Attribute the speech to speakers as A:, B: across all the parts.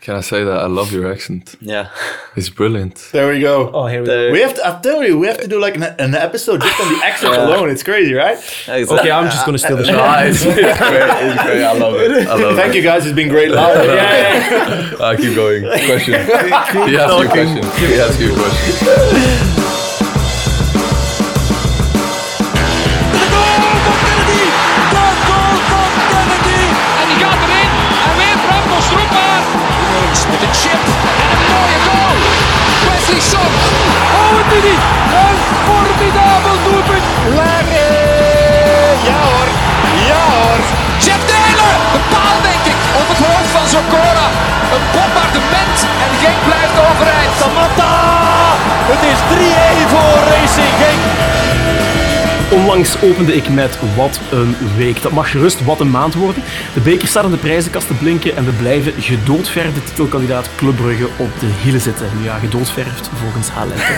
A: Can I say that I love your accent?
B: Yeah.
A: It's brilliant.
C: There we go.
D: Oh, here we go.
B: There-
C: We have to, I tell you, we have to do like an, an episode just on the accent alone. It's crazy, right?
B: Exactly.
D: Okay, I'm just going to steal the
B: Ah,
D: show.
B: it's, it's great. It's great. I love it. I
A: Oh,
B: love
C: Thank
B: it.
C: you guys, it's been great. Lyle.
A: I keep going. Question. he asked you a question. He asked you a question.
E: En die gaat erin. En weer Bram van Stroepaar. Met een chip en een mooie goal. Wesley Son. Oh, het is niet. Een formidabel doelpunt. Larry. Ja hoor. Ja hoor. Jeff Taylor. De paal denk ik. Op het hoofd van Socora. Een bombardement. En Genk blijft overeind. Samatta. Het is 3-1 voor Racing Genk.
D: Onlangs opende ik met Wat een week. Dat mag gerust wat een maand worden. De bekers staan in de prijzenkast te blinken en we blijven gedoodverfde titelkandidaat Club Brugge op de hielen zitten. Nu ja, gedoodverfd volgens Haaland.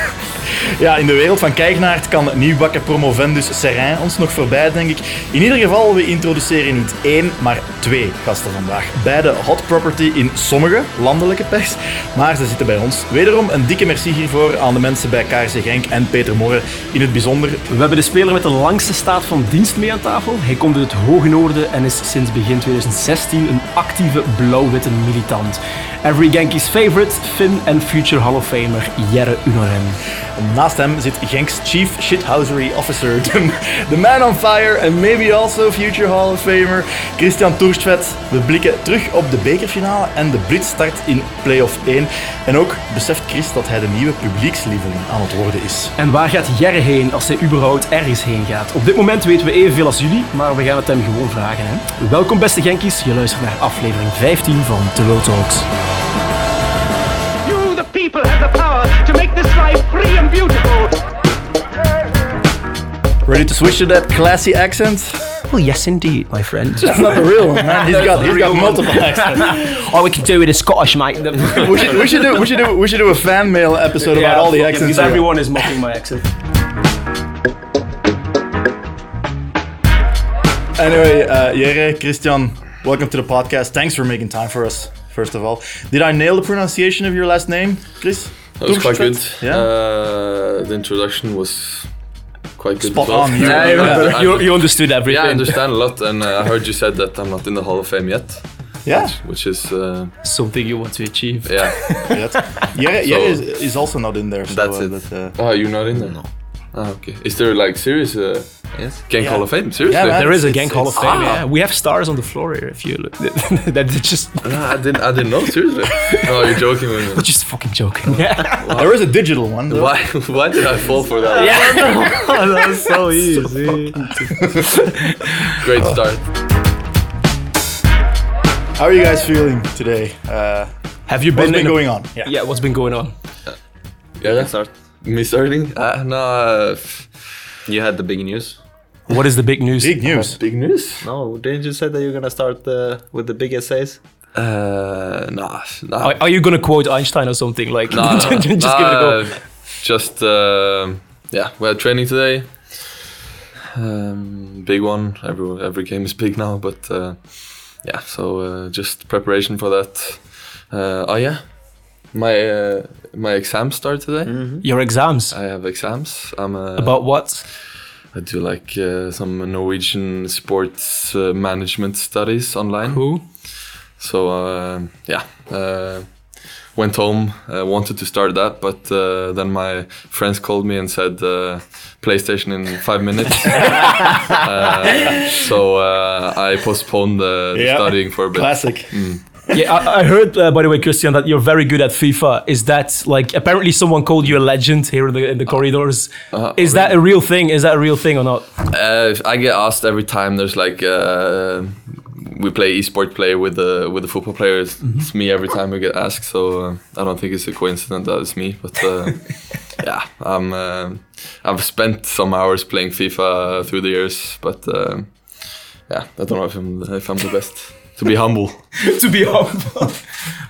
C: Ja, in de wereld van Kijknaart kan nieuwbakken promovendus Serrain ons nog voorbij, denk ik. In ieder geval, we introduceren niet één, maar twee gasten vandaag. Beide hot property in sommige landelijke pers, maar ze zitten bij ons. Wederom een dikke merci hiervoor aan de mensen bij KRC Genk en Peter Morren in het bijzonder.
D: We hebben de speler met de langste staat van dienst mee aan tafel. Hij komt uit het Hoge Noorden en is sinds begin 2016 een actieve blauw-witte militant. Every Yankees favorite, Finn en future Hall of Famer Jere Unoren.
C: Naast hem zit Genks Chief Shithousery Officer, de, de man on fire and maybe also future Hall of Famer, Christian Toerstvet. We blikken terug op de bekerfinale en de blitzstart in Playoff 1. En ook beseft Chris dat hij de nieuwe publiekslieveling aan het worden is.
D: En waar gaat Jere heen als hij überhaupt ergens heen gaat? Op dit moment weten we evenveel als jullie, maar we gaan het hem gewoon vragen. Hè? Welkom beste Genkies, je luistert naar aflevering 15 van The World Talks.
F: You, the people, have the power to make this life free and beautiful.
C: Ready to switch to that classy accent?
D: Oh yes indeed, my friend.
C: Not the real one, man. He's got, he's got multiple accents.
D: oh, we can do it in Scottish, mate.
C: We should, we, should do, we, should do, we should do a fan mail episode about all the accents.
D: Because
C: here.
D: everyone is mocking my accent.
C: Anyway, uh, Jere, Christian, welcome to the podcast. Thanks for making time for us, first of all. Did I nail the pronunciation of your last name, Chris?
A: That was quite good.
C: Yeah.
A: Uh, the introduction was quite good.
C: Spot
A: as well.
C: on, you-
A: Yeah,
C: Yeah.
A: I-
D: understood
A: yeah,
D: everything.
A: I understand a lot, and uh, I heard you said that I'm not in the Hall of Fame yet,
C: yeah.
A: which is uh,
D: Something you want to achieve.
A: yeah.
C: That's, Jere, Jere is, is also not in there. So
A: That's
C: uh,
A: it.
C: that, uh,
A: Oh, you're not in there. No. Ah, okay. Is there like serious uh,
B: Yes.
A: Gank
C: Yeah.
A: Hall of Fame? Seriously?
C: man.
D: There is a
C: It's-
D: Gank Hall of
C: it's-
D: Fame. Yeah, we have stars on the floor here. If you look, that's just
A: No, I didn't. I didn't know. Seriously? no, you're joking with me.
D: just fucking joking. Yeah,
C: There is a digital one. Though.
A: Why? Why did I fall for that?
D: that was so easy.
A: Great start.
C: How are you guys feeling today? Uh,
D: Have you
C: what's
D: been,
C: been
D: in a-
C: going on? Yeah.
D: Yeah, what's been going on?
A: Yeah,
B: You can
A: that's
B: start.
A: me starting. Uh, no, uh,
B: You had the big news.
D: What is the big news?
C: Big news.
A: big news.
B: No, didn't you say that you're gonna start uh, with the big essays?
A: Uh, nah, nah.
D: Are, are you gonna quote Einstein or something? Like,
A: Nah,
D: Oh, just give it a
A: nah,
D: go.
A: Just uh, yeah, we had training today. Um, big one. Every every game is big now, but uh, yeah. So uh, just preparation for that. Uh, oh yeah, my uh, my exams start today.
D: Your exams.
A: I have exams. I'm a,
D: About what?
A: I do like uh, some Norwegian sports uh, management studies online.
D: Who?
A: So uh, yeah, uh, went home. Uh, wanted to start that, but uh, then my friends called me and said uh, PlayStation in five minutes. uh, so uh, I postponed the, the
C: Yeah.
A: studying for a bit.
C: Classic.
D: Yeah, I, I heard uh, by the way, Christian, that you're very good at FIFA. Is that like apparently someone called you a legend here in the in the corridors? is that a real thing? Is that a real thing or not?
A: Uh, I get asked every time. There's like uh, we play esport player with the with the football player. It's,
C: Mm-hmm.
A: it's me every time we get asked. So uh, I don't think it's a coincidence that it's me. But uh, yeah, I'm. Uh, I've spent some hours playing FIFA through the years, but uh, yeah, I don't know if I'm if I'm the best. To be humble.
D: to be humble.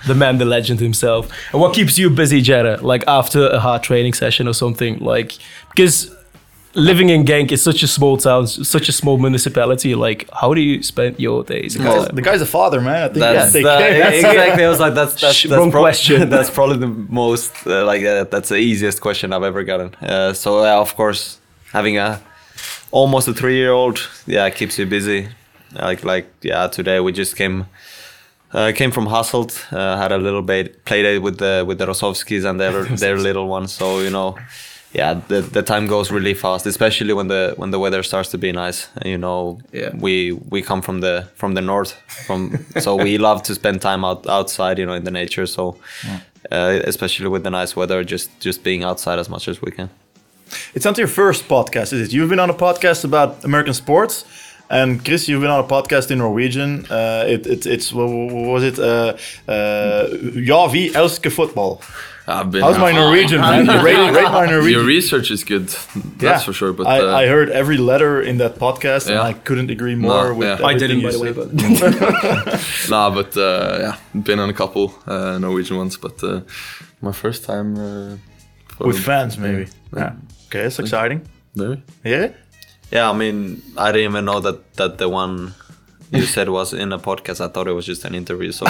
D: the man, the legend himself. And what keeps you busy, Jada? Like after a hard training session or something? Like because living in Genk is such a small town, such a small municipality. Like, how do you spend your days?
A: Well,
C: The guy's a father, man. I think
B: That's
C: yeah,
B: the- exactly. I was like, that's that's,
D: Shh,
B: that's
D: wrong
B: prob-
D: question.
B: That's probably the most uh, like uh, that's the easiest question I've ever gotten. Uh, so uh, of course, having a almost a three year old, yeah, keeps you busy. Like like yeah, today we just came. Uh, came from Hasselt, uh, had a little ba- play day with the with the Rosovskis and their their little ones. So you know, yeah, the, the time goes really fast, especially when the when the weather starts to be nice. And, You know,
D: Yeah.
B: we we come from the from the north, from so we love to spend time out outside, you know, in the nature. So, uh, especially with the nice weather, just just being outside as much as we can.
C: It's not your first podcast, is it? You've been on a podcast about American sports, and Chris, you've been on a podcast in Norwegian. Uh, it, it, it's what was it? Uh, uh, ja, vi elsker football.
A: I've been.
C: How's my Norwegian? Man? Rate, rate my
A: Your
C: Norwegian.
A: research is good, that's for sure. But
C: I,
A: uh,
C: I heard every letter in that podcast, and
A: Yeah.
C: I couldn't agree more
A: No,
C: with.
A: yeah.
C: everything
A: I
C: you said.
D: but
A: nah, but uh, yeah, been on a couple uh, Norwegian ones, but uh, my first time uh, for-
C: with fans, maybe.
A: Yeah.
C: Okay, that's exciting.
A: Maybe.
C: Yeah.
B: Yeah, I mean, I didn't even know that that the one you said was in a podcast. I thought it was just an interview. So.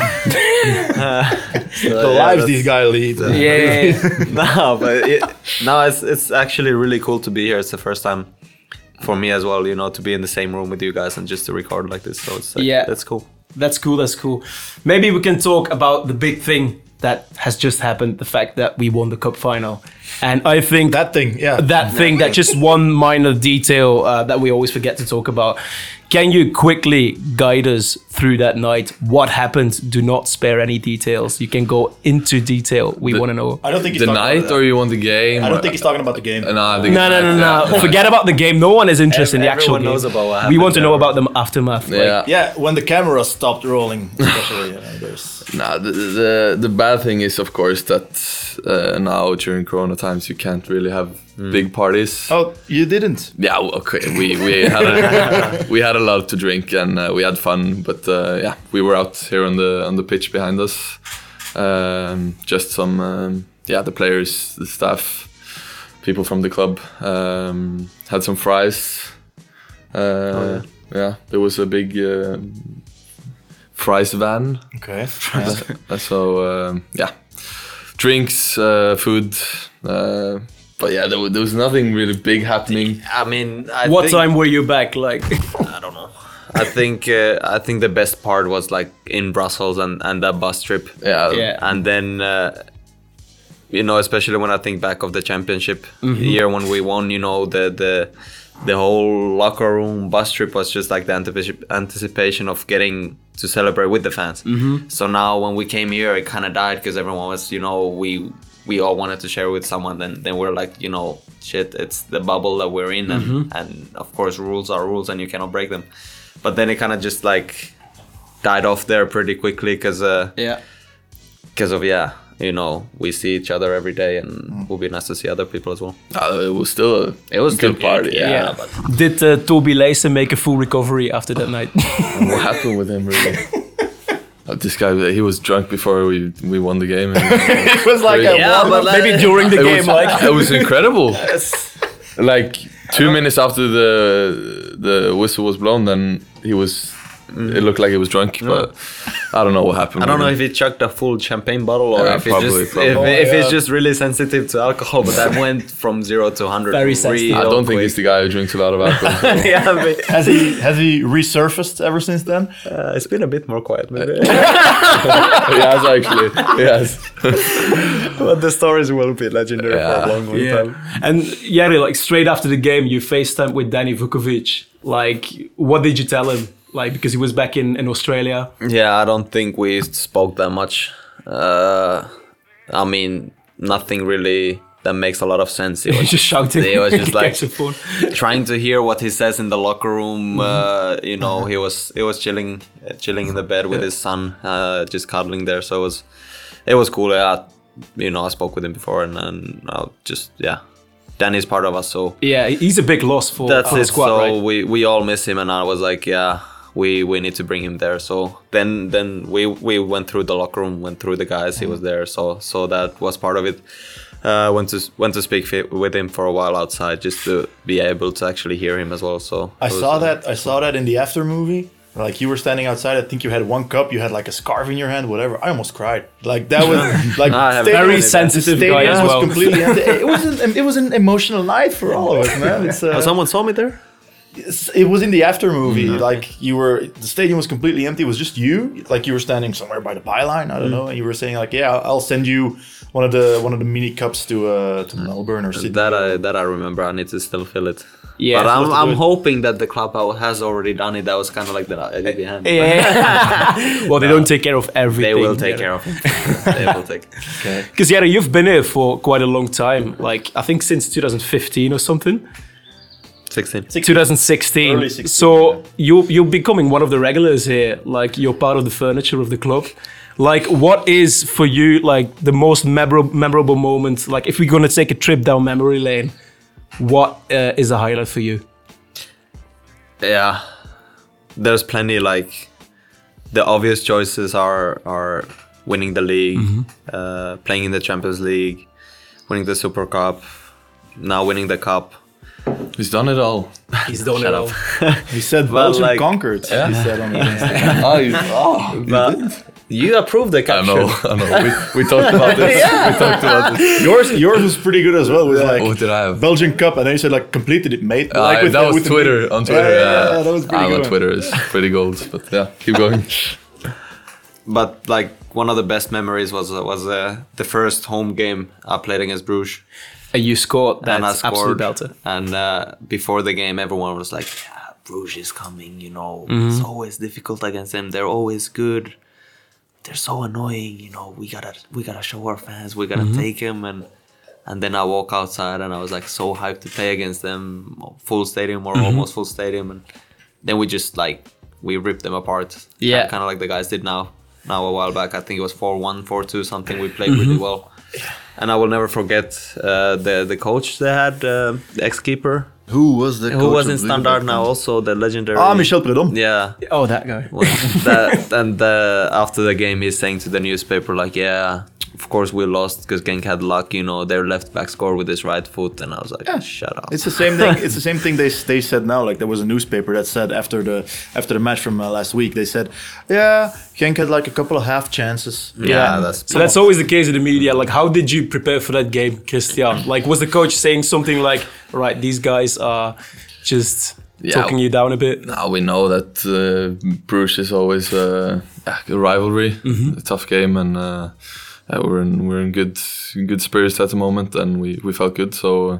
C: the lives these guys lead.
D: yeah,
B: no, but it, no, it's it's actually really cool to be here. It's the first time for me as well, you know, to be in the same room with you guys and just to record like this. So it's like,
D: Yeah.
B: yeah, that's cool.
D: that's cool. That's cool. Maybe we can talk about the big thing that has just happened: the fact that we won the cup final. And I think
C: That thing, yeah.
D: that thing that just one minor detail uh, that we always forget to talk about can you quickly guide us through that night what happened do not spare any details you can go into detail we want to know
C: I don't think he's
A: The
C: talking about
A: night
C: that.
A: or you won the game?
C: I don't think he's talking about the game.
A: Uh, nah, I think
D: no no
A: it's
D: no
A: night,
D: no
A: yeah. Yeah.
D: forget about the game no one is interested in the
B: Everyone
D: actual game
B: knows about what
D: we
B: happened
D: want to know
B: there.
D: about the aftermath like-
A: Yeah.
C: Yeah, when the camera stopped rolling, especially. you know, there's-
A: Nah, the, the the bad thing is of course that uh, now during Corona times you can't really have
C: Mm.
A: big parties.
C: Oh, you didn't.
A: Yeah, well, okay. We we had a, we had a lot to drink and uh, we had fun, but uh, yeah, we were out here on the on the pitch behind us. Um, just some um, yeah, the players, the staff, people from the club um, had some fries. Uh, yeah. there was a big uh, fries van.
C: Okay.
A: Uh, so um, yeah, drinks, uh, food. Uh, but yeah, there, wa- there was nothing really big happening.
B: I mean, I
D: what
B: think,
D: time were you back like
B: I don't know. I think uh, I think the best part was like in Brussels and and that bus trip.
A: Yeah,
D: Yeah.
B: and then uh, you know especially when i think back of the championship year when we won you know the the the whole locker room bus trip was just like the antipi- anticipation of getting to celebrate with the fans so now when we came here it kind of died because everyone was you know we we all wanted to share with someone then then we're like you know shit it's the bubble that we're in and, and of course rules are rules and you cannot break them but then it kind of just like died off there pretty quickly because uh,
D: yeah
B: because of yeah you know we see each other every day and
A: Mm.
B: it would be nice to see other people as well
A: Uh, it was still a
B: It was
A: good
B: good,
A: party.
B: yeah.
A: Yeah.
D: yeah did uh, Toby Leysen make a full recovery after that night
B: Ah,
A: What happened with him really? Uh, This guy, he was drunk before we, we won the game. and
C: It was like a
A: Yeah,
C: warm-up,
A: but like-
C: maybe during the
A: it,
C: game.
A: was,
C: like,
A: it was incredible. Like two minutes after the the whistle was blown, then he was. It looked like he was drunk, but I don't know what happened.
B: Mm. i don't know
A: with
B: if
A: him.
B: he chugged a full champagne bottle or
A: Yeah,
B: if,
A: probably,
B: it just,
A: probably.
B: if,
A: Oh,
B: if it's
C: yeah.
B: just really sensitive to alcohol but that went from zero to 100
D: Very sensitive.
A: I don't think he's the guy who drinks a lot of alcohol.
B: yeah, but,
C: has he has he resurfaced ever since then?
B: uh, it's been a bit more quiet maybe
A: yes, actually, yes.
B: but the stories will be legendary for a long long
D: Yeah.
B: time
D: And Yari, like straight after the game, you FaceTime with Danny Vukovic. Like, what did you tell him? Like, because he was back in, in Australia.
B: yeah i don't think we spoke that much uh i mean nothing really that makes a lot of sense It was
D: just shouting.
B: He was just like-
D: Catch the phone.
B: trying to hear what he says in the locker room. Uh, you know, he was he was chilling uh, chilling in the bed with his son, uh, just cuddling there. So it was it was cool. I, you know, I spoke with him before, and, and I just yeah, Danny's part of us, so
D: Yeah, he's a big loss for
B: that's
D: for the
B: it.
D: squad,
B: so
D: right?
B: we we all miss him, and I was like, yeah, we we need to bring him there. So then
D: Mm-hmm.
B: then we we went through the locker room, went through the guys. He was there, so so that was part of it. uh, went to went to speak fi- with him for a while outside just to be able to actually hear him as well. So
C: I
B: was,
C: saw
B: uh,
C: that. I saw that in the after movie. Like you were standing outside. I think you had one cup. You had like a scarf in your hand. Whatever. I almost cried. Like that was like
B: I have
C: stadium-
B: Very
D: sensitive guy
C: stadium
D: as
C: was
D: well.
C: completely empty. It was an, it was an emotional night for all of us, man. It's,
B: Oh,
C: uh,
B: someone saw me there.
C: it's- it was in the after movie.
A: Mm-hmm.
C: Like you were, the stadium was completely empty. It was just you. Like you were standing somewhere by the byline. I don't
A: Mm.
C: know. And you were saying like, yeah, I'll send you one of the one of the mini cups to uh, to Melbourne or Sydney.
B: That I that I remember. I need to still fill it.
D: Yeah,
B: but
D: it's
B: I'm,
D: supposed to do
B: I'm
D: it.
B: hoping that the club out has already done it. That was kind of like the idea behind. it.
D: well, they don't take care of everything.
B: They will take care of it. they will take.
D: Because Yara, you've been here for quite a long time. Like I think since 2015 or something.
B: Sixteen.
D: 2016.
C: Early 16,
D: so you you're becoming one of the regulars here. Like you're part of the furniture of the club. Like what is for you like the most memorable memorable moment? Like if we're gonna take a trip down memory lane, what uh, is a highlight for you?
B: Yeah, there's plenty. Like the obvious choices are are winning the league,
A: Mm-hmm.
B: uh, playing in the Champions League, winning the Super Cup, now winning the cup.
A: He's done it all.
D: He's done it all.
C: he said Belgium
B: like-
C: conquered. He said on the Instagram.
A: oh, you, oh,
B: But Uh, you approved the
A: I
B: caption.
A: know, I know. We, we talked about this. We talked about this.
C: yours yours was pretty good as well. It was like
A: What Oh, did I have?
C: Belgian Cup, and then you said like completed it, mate.
A: Uh,
C: like
A: that
C: the-
A: was
C: the-
A: Twitter on Twitter.
C: Yeah, yeah, yeah, that was
A: Ah,
C: pretty good
A: on
C: one.
A: Twitter is pretty gold, but yeah, keep going.
B: But like one of the best memories was uh, was uh, the first home game I played against Bruges.
D: And you scored.
B: and I
D: That's absolute
B: scored.
D: belter.
B: And uh, before the game, everyone was like, yeah, "Bruges is coming." You know,
D: Mm-hmm.
B: it's always difficult against them. They're always good. They're so annoying. You know, we gotta we gotta show our fans. We gotta 'em.
D: Mm-hmm.
B: take them. And and then I walk outside, and I was like so hyped to play against them, full stadium or
D: Mm-hmm.
B: almost full stadium. And then we just like we ripped them apart.
D: Yeah.
B: kind of like the guys did now. Now a while back, I think it was 4-1, 4-2, something. We played
D: Mm-hmm.
B: really well and I will never forget uh, the the coach they had, uh, the ex keeper,
A: Who was the
B: who was in Standard now, also the legendary.
C: Ah, Michel Predom.
B: Yeah.
D: Oh, that guy.
B: Well, that, and uh, after the game, he's saying to the newspaper, like, yeah, of course we lost because Genk had luck, you know, their left back scored with his right foot. And I was like, shut up.
C: It's the same thing. It's the same thing they they said now. Like there was a newspaper that said after the after the match from uh, last week, they said, "Yeah, Genk had like a couple of half chances."
B: yeah, that's.
D: So that's always the case in the media. Like, how did you prepare for that game, Christian? Like, was the coach saying something like, "Right, these guys are just
A: Yeah.
D: talking you down a bit"?
A: Now Ah, we know that uh, Bruges is always uh, yeah, a rivalry,
C: Mm-hmm.
A: a tough game, and uh, yeah, we're in we're in good good spirits at the moment, and we, we felt good. So uh,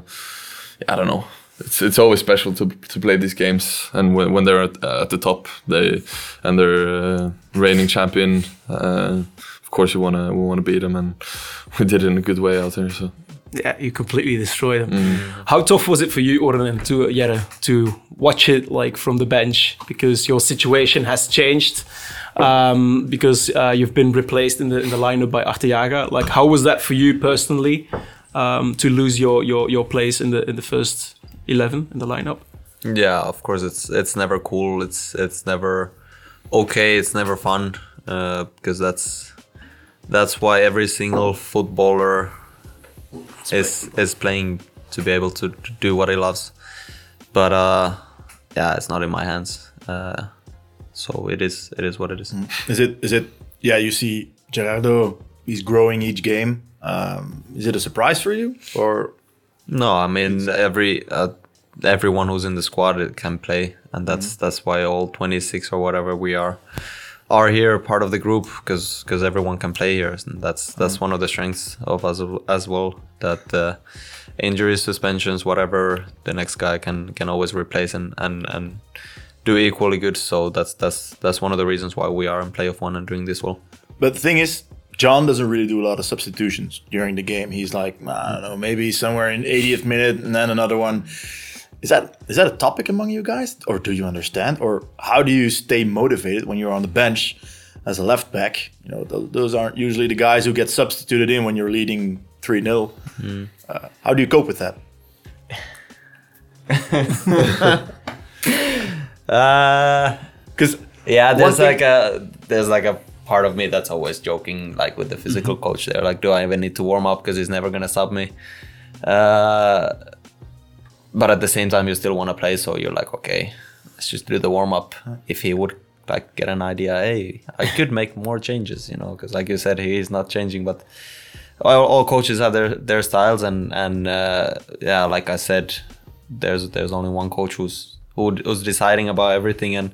A: yeah, I don't know. It's it's always special to to play these games, and when, when they're at, uh, at the top, they and they're uh, reigning champion. Uh, of course, you wanna we wanna beat them, and we did it in a good way out there. So.
D: Yeah, you completely destroyed them. Mm. How tough was it for you, Ornan, to yeah, to watch it like from the bench because your situation has changed um, because uh, you've been replaced in the in the lineup by Arteaga. Like, how was that for you personally um, to lose your your your place in the in the first eleven in the lineup?
B: yeah of course it's it's never cool it's it's never okay it's never fun uh, because that's that's why every single footballer is is playing to be able to to do what he loves but uh yeah it's not in my hands uh so it is it is what it is
C: Is it is it? Yeah, you see, Gerardo, he's growing each game. Um, is it a surprise for you or?
B: No, I mean every uh, everyone who's in the squad it can play, and that's that's why all twenty six or whatever we are are here, part of the group, because everyone can play here, and that's that's one of the strengths of us as well. That uh, injuries, suspensions, whatever, the next guy can can always replace and and and do equally good. So that's that's that's one of the reasons why we are in playoff one and doing this well.
C: But the thing is, John doesn't really do a lot of substitutions during the game. He's like, I don't know, maybe somewhere in 80th minute and then another one. Is that is that a topic among you guys, or do you understand, or how do you stay motivated when you're on the bench as a left back? You know, th- those aren't usually the guys who get substituted in when you're leading three 0 Uh, how do you cope with that?
B: Uh,
C: Because
B: Yeah, there's
C: thing-
B: like a there's like a part of me that's always joking, like with the physical coach there, like, do I even need to warm up because he's never gonna sub me? Uh, but at the same time, you still want to play, so you're like, okay, let's just do the warm up. If he would like get an idea, hey, I could make more changes, you know, because like you said, he is not changing, but all, all coaches have their their styles and and uh, yeah like i said there's there's only one coach who's who, who's deciding about everything and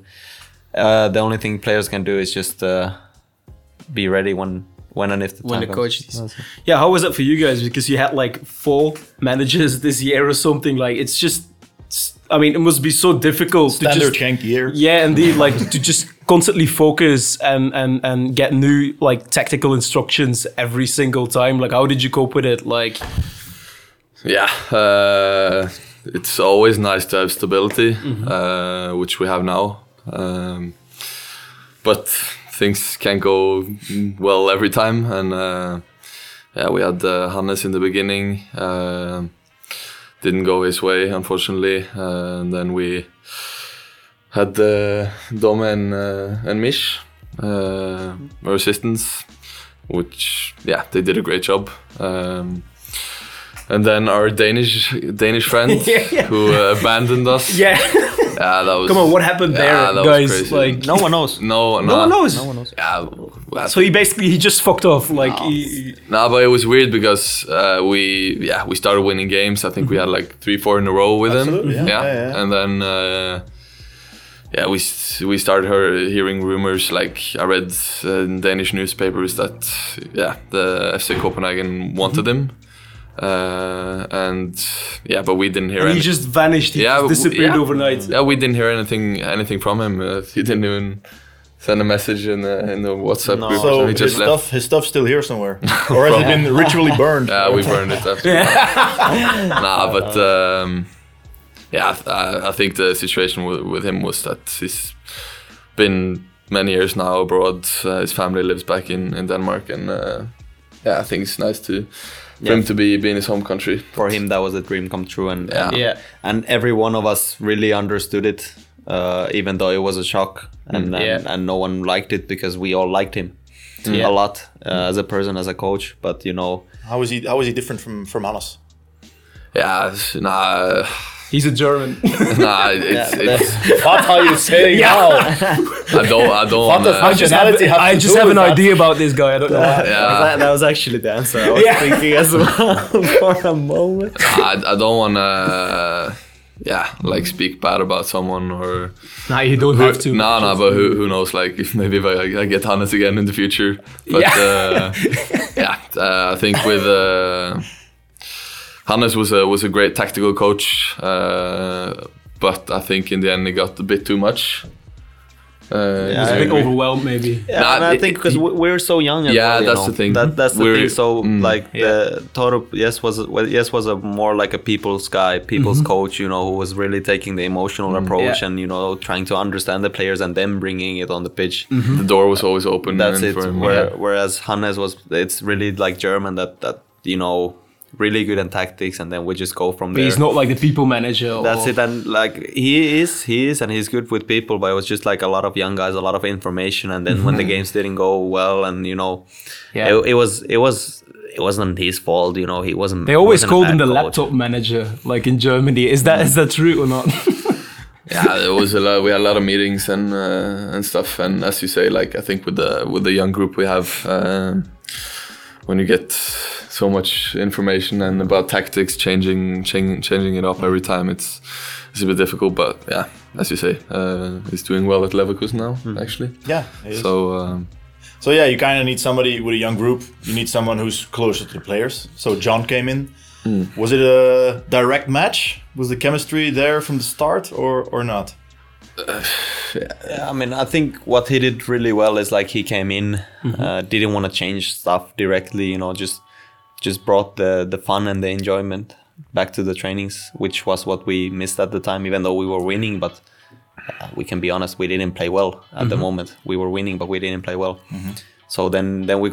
B: uh, the only thing players can do is just uh, be ready when when and if the
D: when
B: time
D: the
B: comes.
D: coach is. Yeah, how was that for you guys? Because you had like four managers this year or something. Like it's just, I mean, it must be so difficult to
C: Standard
D: just.
C: Genk here.
D: Yeah, indeed. Like to just constantly focus and and and get new like tactical instructions every single time. Like, how did you cope with it? Like,
A: Yeah, uh, it's always nice to have stability, uh, which we have now. Um, but things can go well every time, and uh, yeah, we had uh, Hannes in the beginning. um didn't go his way, unfortunately, uh, and then we had uh, Dom and uh, and Mish, uh, our assistants, which yeah, they did a great job. Um, and then our Danish Danish friend
D: Yeah, yeah.
A: who uh, abandoned us.
D: yeah.
A: Yeah, that was.
D: Come on, what happened there,
A: Yeah, that was
D: guys?
A: crazy.
D: Like,
B: no one knows
A: No,
D: no one knows.
A: Yeah, well,
D: So he basically he just fucked off. Like, he,
A: No, but it was weird because uh, we yeah we started winning games. I think we had like three, four in a row with
C: Mm-hmm. Absolutely, yeah.
A: him.
C: Yeah, yeah, yeah.
A: and then uh, yeah we s- we started her hearing rumors. Like I read uh, in Danish newspapers that yeah the FC Copenhagen wanted
C: Mm-hmm.
A: him, uh, and yeah, but we didn't hear
D: he
A: any-
D: just vanished. He
A: Yeah,
D: just
A: w-
D: disappeared
A: yeah.
D: overnight.
A: yeah, we didn't hear anything anything from him. Uh, he didn't even send a message in the in the WhatsApp group. or
C: So
A: something. he
C: his
A: just left.
C: stuff, his stuff's still here somewhere, or has it been ritually burned?
A: Yeah, we burned Uh, it after. nah, but um, yeah, I, th- I- I think the situation with, with him was that he's been many years now abroad. Uh, his family lives back in, in Denmark, and uh, yeah, I think it's nice to for him to be, be in his home country.
B: for him that was a dream come true and
A: Yeah.
D: Yeah.
B: and every one of us really understood it uh, even though it was a shock and, and,
D: Mm, Yeah.
B: and no one liked it because we all liked him
D: Yeah.
B: a lot uh, as a person as a coach but you know
C: How is he? How is he different from from Hannes?
A: Yeah, it's- nah,
D: He's a German.
A: nah, it's, it's
C: What are you saying now?
A: I don't, I
C: What
A: don't.
C: does
A: uh,
C: functionality have to do
D: I just have
C: with
D: an
C: that?
D: idea about this guy. I don't know.
A: yeah,
G: that, that was actually the answer I was
D: Yeah.
G: thinking as well for a moment.
A: I, I don't want to. Yeah, like speak bad about someone or
D: Nah, you don't
A: Who-
D: have to.
A: No, no, but who, who knows? Like, if maybe if I, I get Hannes again in the future. But
D: Yeah.
A: uh, yeah, uh, I think with uh, Hannes was a was a great tactical coach, uh, but I think in the end he got a bit too much. Uh,
D: He's a bit overwhelmed, maybe.
B: Yeah,
A: Nah,
B: and I
A: it-
B: think because we're so young. as
A: Yeah,
B: well, you
A: that's
B: know.
A: the thing.
B: That, that's the
A: We're-
B: thing. So
A: mm.
B: like the Torup, yes was well, yes was a more like a people's guy, people's coach. You know, who was really taking the emotional approach
D: Mm-hmm. Mm,
B: and
D: Yeah.
B: you know trying to understand the players and then bringing it on the pitch.
D: Mm-hmm.
A: the door was always open.
B: That's
A: and
B: it.
A: Mm, for him,
B: Where,
A: yeah.
B: Whereas Hannes was, it's really like German that that you know really good in tactics, and then we just go from
D: But
B: there.
D: he's not like the people manager. or-
B: That's it, and like he is, he is, and he's good with people. But it was just like a lot of young guys, a lot of information, and then when the games didn't go well, and you know,
D: Mm-hmm. Yeah.
B: it, it was, it was, it wasn't his fault. You know, he wasn't.
D: They always
B: wasn't a
D: called
B: bad
D: him the
B: coach.
D: laptop manager, like in Germany. Is that is that true or not?
A: yeah, there Uh, was a lot. We had a lot of meetings and uh, and stuff. And as you say, like I think with the with the young group we have, uh, when you get so much information and about tactics, changing changing changing it up every time, it's it's a bit difficult. But yeah, as you say, uh, he's doing well at Leverkusen now, actually.
C: Yeah. he Hmm. is.
A: So um,
C: So yeah, you kind of need somebody with a young group. You need someone who's closer to the players. So John came in.
A: Hmm.
C: Was it a direct match? Was the chemistry there from the start, or or not?
B: I mean, I think what he did really well is like he came in, uh, didn't want to change stuff directly. You know, just just brought the the fun and the enjoyment back to the trainings, which was what we missed at the time. Even though we were winning, but uh, we can be honest, we didn't play well at the moment. We were winning, but we didn't play well. So then then we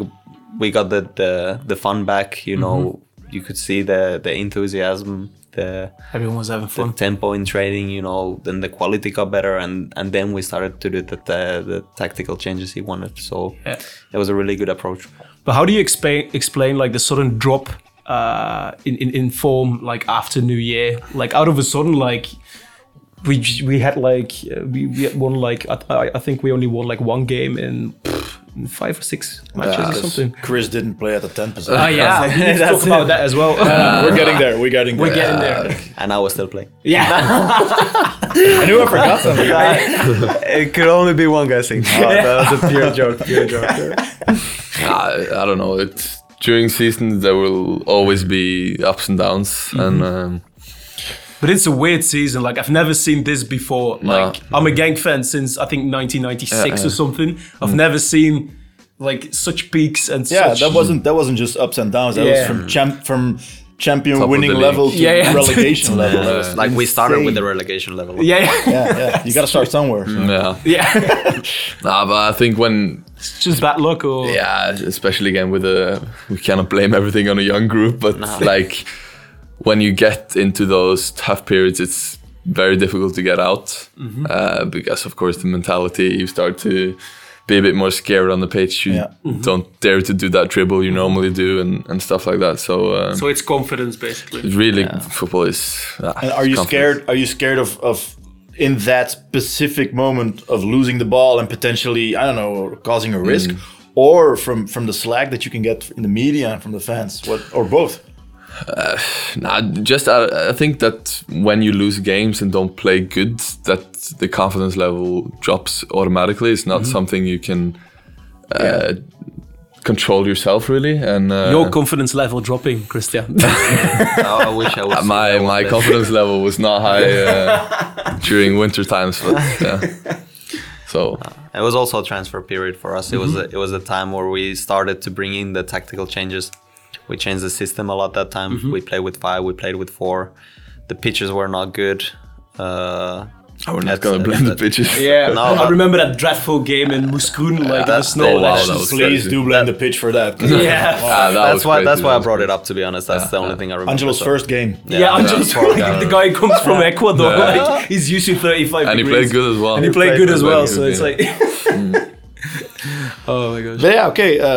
B: we got the the, the fun back. You know, you could see the the enthusiasm the
D: Everyone was having
B: the
D: fun.
B: tempo in training, you know, then the quality got better, and and then we started to do the the, the tactical changes he wanted. So
D: Yeah.
B: it was a really good approach.
D: But how do you explain explain like the sudden drop uh, in, in in form like after New Year? Like out of a sudden, like we j- we had like uh, we, we had won like I, I- I think we only won like one game in, pff, in five or six matches or
B: that's-
D: something.
C: Chris didn't play at the 10 position.
D: Oh yeah, we need to talk about that as well.
C: We're getting there. We're getting there.
D: We're getting
A: uh,
D: there.
B: And I was still playing.
D: Yeah,
C: I knew I forgot something.
B: It could only be one guessing. That was a pure joke. Pure joke.
A: uh, I, I don't know. It's during seasons there will always be ups and downs,
C: Mm-hmm.
A: and um,
D: but it's a weird season. Like I've never seen this before. Like I'm a gang fan since I think 1996
A: Yeah, yeah.
D: or something. I've never seen like such peaks and
C: Yeah,
D: such.
C: that wasn't that wasn't just ups and downs. That
D: Yeah.
C: was from champ from champion
A: Top of
C: winning
A: the
C: level to
A: league.
D: Yeah, yeah.
C: relegation level. That was-
B: Like we started with the relegation level.
D: yeah, yeah.
C: yeah, yeah. You got to start somewhere.
A: yeah.
D: Yeah,
A: Nah, but I think when
D: it's just bad luck or
A: yeah, especially again with a we cannot blame everything on a young group, but like when you get into those tough periods, it's very difficult to get out
G: Mm-hmm.
A: uh, because of course the mentality you start to be a bit more scared on the pitch. You
C: Yeah.
G: Mm-hmm.
A: don't dare to do that dribble you normally do and, and stuff like that. So, um,
G: So it's confidence, basically.
A: really, football is. ah,
C: And are you
A: confidence.
C: scared? Are you scared of of in that specific moment of losing the ball and potentially I don't know causing a
A: Hmm.
C: risk, or from from the slack that you can get in the media and from the fans, what or both?
A: Nah, just I, I think that when you lose games and don't play good, that the confidence level drops automatically. It's
D: Mm-hmm.
A: not something you can uh, control yourself really. And uh,
D: your confidence level dropping, Christian.
B: I wish I was.
A: my my confidence level was not high uh, during winter times, but yeah. So
B: It was also a transfer period for us. It was a, it was a time where we started to bring in the tactical changes. We changed the system a lot that time. We played with five. We played with four. The pitches were not good. Uh,
D: Oh,
A: we're
B: that's-
A: not gonna blame the
B: that's-
A: pitches.
D: Yeah,
B: No,
D: I
B: I-
D: remember that dreadful game in Muscoon, like in the
B: that's-
D: snow.
A: oh, wow,
D: That's
A: that
D: just-
A: was
C: Please
A: crazy.
C: do blame the pitch for that.
A: Ah,
D: yeah.
A: that
B: That's
A: was
B: why
A: crazy.
B: that's why
A: That
B: I
A: was
B: brought
A: crazy.
B: it up. To be honest, that's the only thing I remember.
C: Angelo's
B: So-
C: first game.
D: Yeah, I'm just like the guy comes from Ecuador.
A: Yeah.
D: Like, he's used to 35
A: And he
D: degrees.
A: played good as well.
D: And he played good as well, so
A: yeah.
D: it's like. oh my gosh.
C: But yeah, okay. Uh,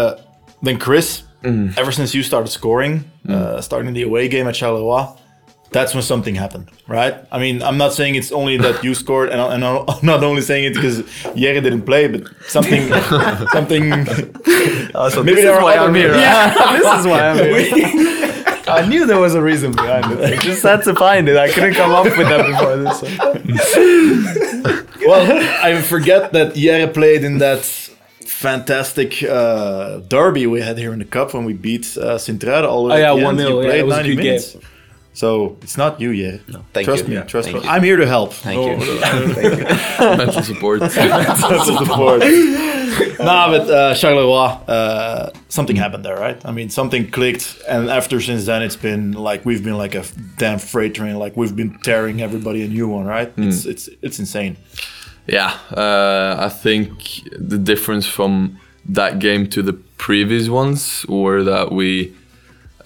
C: then Chris,
B: Mm.
C: ever since you started scoring, uh, starting the away game at Charleroi, that's when something happened, right? I mean, I'm not saying it's only that you scored, and, I- and I'm not only saying it because Jerry didn't play, but something, something.
B: Oh,
C: maybe there are other reasons.
B: Yeah, this is why I'm here. I knew there was a reason behind it. I just had to find it. I couldn't come up with that before this one.
C: Well, I forget that Jerry played in that fantastic uh, derby we had here in the cup when we beat uh, Sint-Truiden all the way
D: Oh, yeah,
C: at the end.
D: 1-0,
C: You
D: yeah,
C: played
D: it was a
C: 90
D: good game.
C: minutes. So it's not you, Jerry.
B: Thank
C: trust
B: you.
C: me,
B: Yeah,
C: trust me.
B: thank you.
C: I'm here to help.
B: Thank you.
A: mental support.
C: That's what the board. nah, but uh, Charleroi, uh, something happened there, right? I mean, something clicked, and after since then, it's been like we've been like a damn freight train. Like we've been tearing everybody a new one, right?
B: Hmm.
C: It's it's it's insane.
A: Yeah, uh, I think the difference from that game to the previous ones were that we,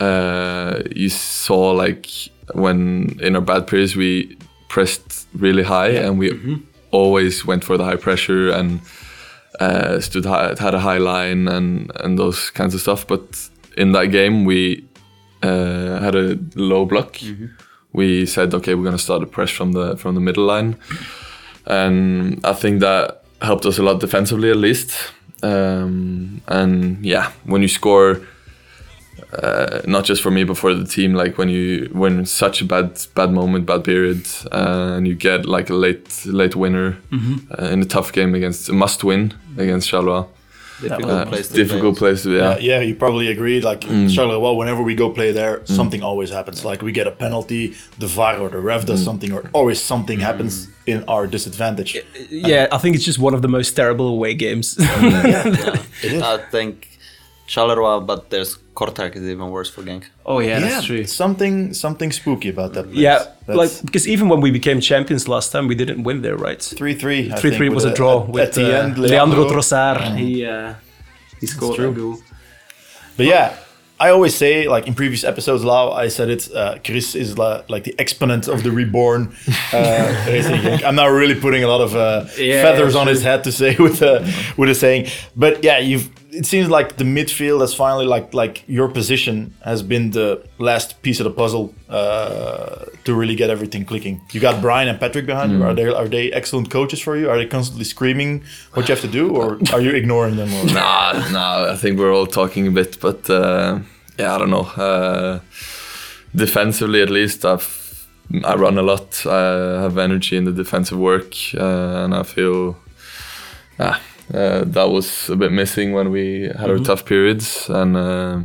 A: uh, you saw like when in our bad periods we pressed really high and we always went for the high pressure and uh, stood high, had a high line and and those kinds of stuff. But in that game we uh, had a low block. We said, okay, we're gonna start a press from the from the middle line and I think that helped us a lot defensively at least. Um, and yeah, when you score, uh, not just for me but for the team, like when you when such a bad bad moment, bad period, uh, and you get like a late late winner uh, in a tough game against a must win against Charleroi,
B: Difficult
A: uh,
B: place to
A: difficult place. to-
C: Uh,
A: Yeah,
C: yeah, you probably agree. Like
D: Mm.
C: Charleroi, whenever we go play there, something always happens. Like we get a penalty, the VAR or the ref does
D: Mm.
C: something, or always something happens in our disadvantage.
D: Yeah, I think it's just one of the most terrible away games.
B: I think Charleroi, but there's Kortak is even worse for Genk.
D: oh, yeah,
C: something something spooky about that. Place.
D: Yeah,
C: That's-
D: like because even when we became champions last time, we didn't win there, right?
C: Three three.
D: Three three was a draw
C: At,
D: with
C: at the
D: uh,
C: end,
D: Leandro,
C: Leandro
D: Trossard.
G: He, uh, he scored a goal.
C: But yeah, I always say, like in previous episodes, Lau, I said it. Uh, Chris is la- like the exponent of the reborn uh, racing. geek. I'm not really putting a lot of uh,
G: Yeah,
C: feathers
G: yeah,
C: on his head to say with a with a saying, but yeah, you've. It seems like the midfield has finally like like your position has been the last piece of the puzzle uh, to really get everything clicking. You got Brian and Patrick behind you. Are they are they excellent coaches for you? Are they constantly screaming what you have to do, or are you ignoring them? Or?
A: Nah, nah. I think we're all talking a bit, but uh, yeah, I don't know. Uh, defensively, at least, I've I run a lot. I have energy in the defensive work, uh, and I feel ah, uh, that was a bit missing when we had
G: Mm-hmm.
A: our tough periods, and uh,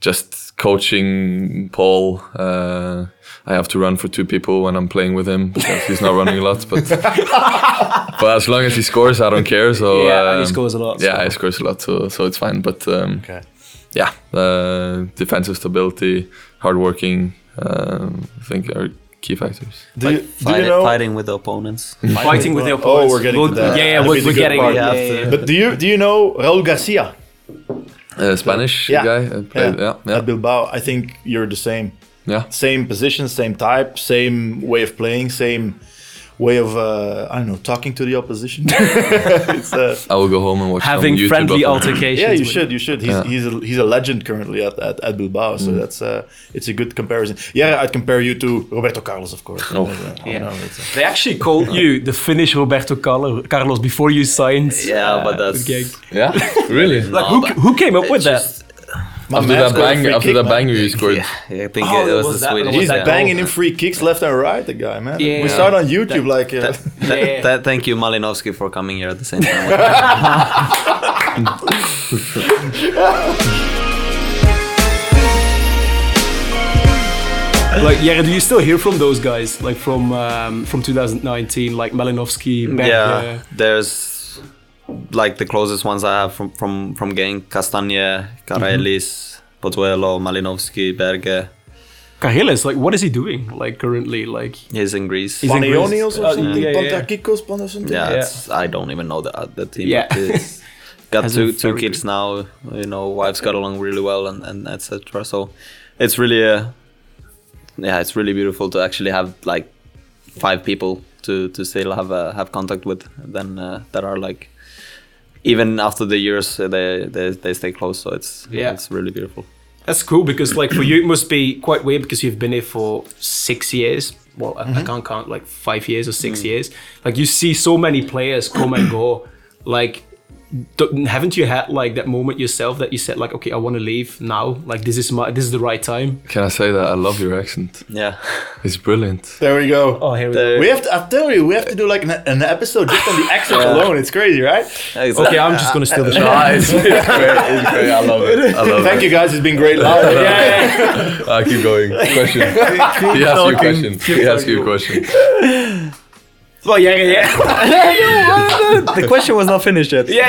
A: just coaching Paul. Uh, I have to run for two people when I'm playing with him because he's not running a lot, but but as long as he scores, I don't care. So
G: yeah, he
A: um,
G: scores a lot.
A: yeah, I scores a lot, so so it's fine. But um,
C: Okay.
A: yeah, uh, defensive stability, hardworking, um, I think are key factors.
C: Do you, do
B: Fight-
C: you know?
B: Fighting with the opponents.
G: Fighting with the
C: Oh,
G: opponents.
C: we're getting to
G: We'll-
C: that.
G: Yeah, yeah,
C: That'll
G: we're,
C: be the
G: we're
C: good
G: getting
C: part.
G: it. Yeah,
B: Yeah,
G: yeah, yeah.
C: But do you do you know Raul Garcia?
A: Uh, Spanish
C: Yeah.
A: guy, uh, played, yeah, yeah,
C: At Bilbao, I think you're the same.
A: yeah.
C: Same position, same type, same way of playing, same way of uh, I don't know, talking to the opposition. it's, uh,
A: I will go home and watch
G: Having
A: some YouTube
G: friendly
A: after.
G: altercations.
C: yeah, you
G: with-
C: should, you should. He's
A: Yeah. Mm.
C: he's, a, he's a legend currently at, at, at Bilbao, so that's uh, it's a good comparison. Yeah, I'd compare you to Roberto Carlos, of course. Oh,
G: Yeah.
D: They actually called you the Finnish Roberto Carlo- Carlos before you signed.
B: Yeah,
D: uh,
B: but that's-
D: the gig.
A: Yeah, really.
D: Like, who, who came up with that?
A: after that bang, after that banger you scored.
B: Yeah, I think
G: Oh,
B: it was,
G: was
B: the
G: that-
B: Swedish.
G: was
C: He's
G: that
B: yeah.
C: banging in free kicks left and right, the guy, man.
G: Yeah.
C: We start on YouTube like. Uh,
B: Th-
G: Yeah.
B: th- thank you, Malinowski, for coming here at the same time.
D: Like, yeah, do you still hear from those guys? Like from um, from 2019, like Malinowski, Berge.
B: yeah, there's like the closest ones I have from from from gang: Castagne, Karelis,
D: Mm-hmm.
B: Pozuelo, Malinowski, Berge.
D: Karelis, like, what is he doing? Like currently, like
B: He's in Greece.
D: He's in
C: Panionios or
D: Uh,
C: something?
D: yeah, yeah.
C: Pantakikos, Pan or something?
B: yeah,
D: yeah.
B: It's, I don't even know the uh, the team.
D: Yeah.
B: but it's- got
D: Has a
B: two two
D: very
B: kids now. You know, wives got along really well, and and etc. So it's really uh, yeah, it's really beautiful to actually have like five people to to still have uh, have contact with. Then uh, that are like even after the years uh, they they, they stay close. So it's
D: Yeah.
B: yeah, it's really beautiful.
D: that's cool because like for you it must be quite weird because you've been here for six years. Well, I, I can't count like five years or six years. Like you see so many players come and go. Like, don't- haven't you had like that moment yourself that you said like, okay, I want to leave now. Like this is my this is the right time.
A: Can I say that I love your accent?
B: Yeah.
A: It's brilliant.
C: There we go.
D: Oh, here we go.
C: We have to, I tell you, we have to do like an, an episode just on the accent alone. It's crazy, right?
D: Okay, I'm just gonna steal the show.
A: it's, great. It's great. I love it. I love
C: Thank you guys, it's been great. Lau.
A: I keep going. Question. he asked you a question. He asked you a question.
D: Well, yeah, yeah, yeah.
B: the question was not finished yet. Yeah.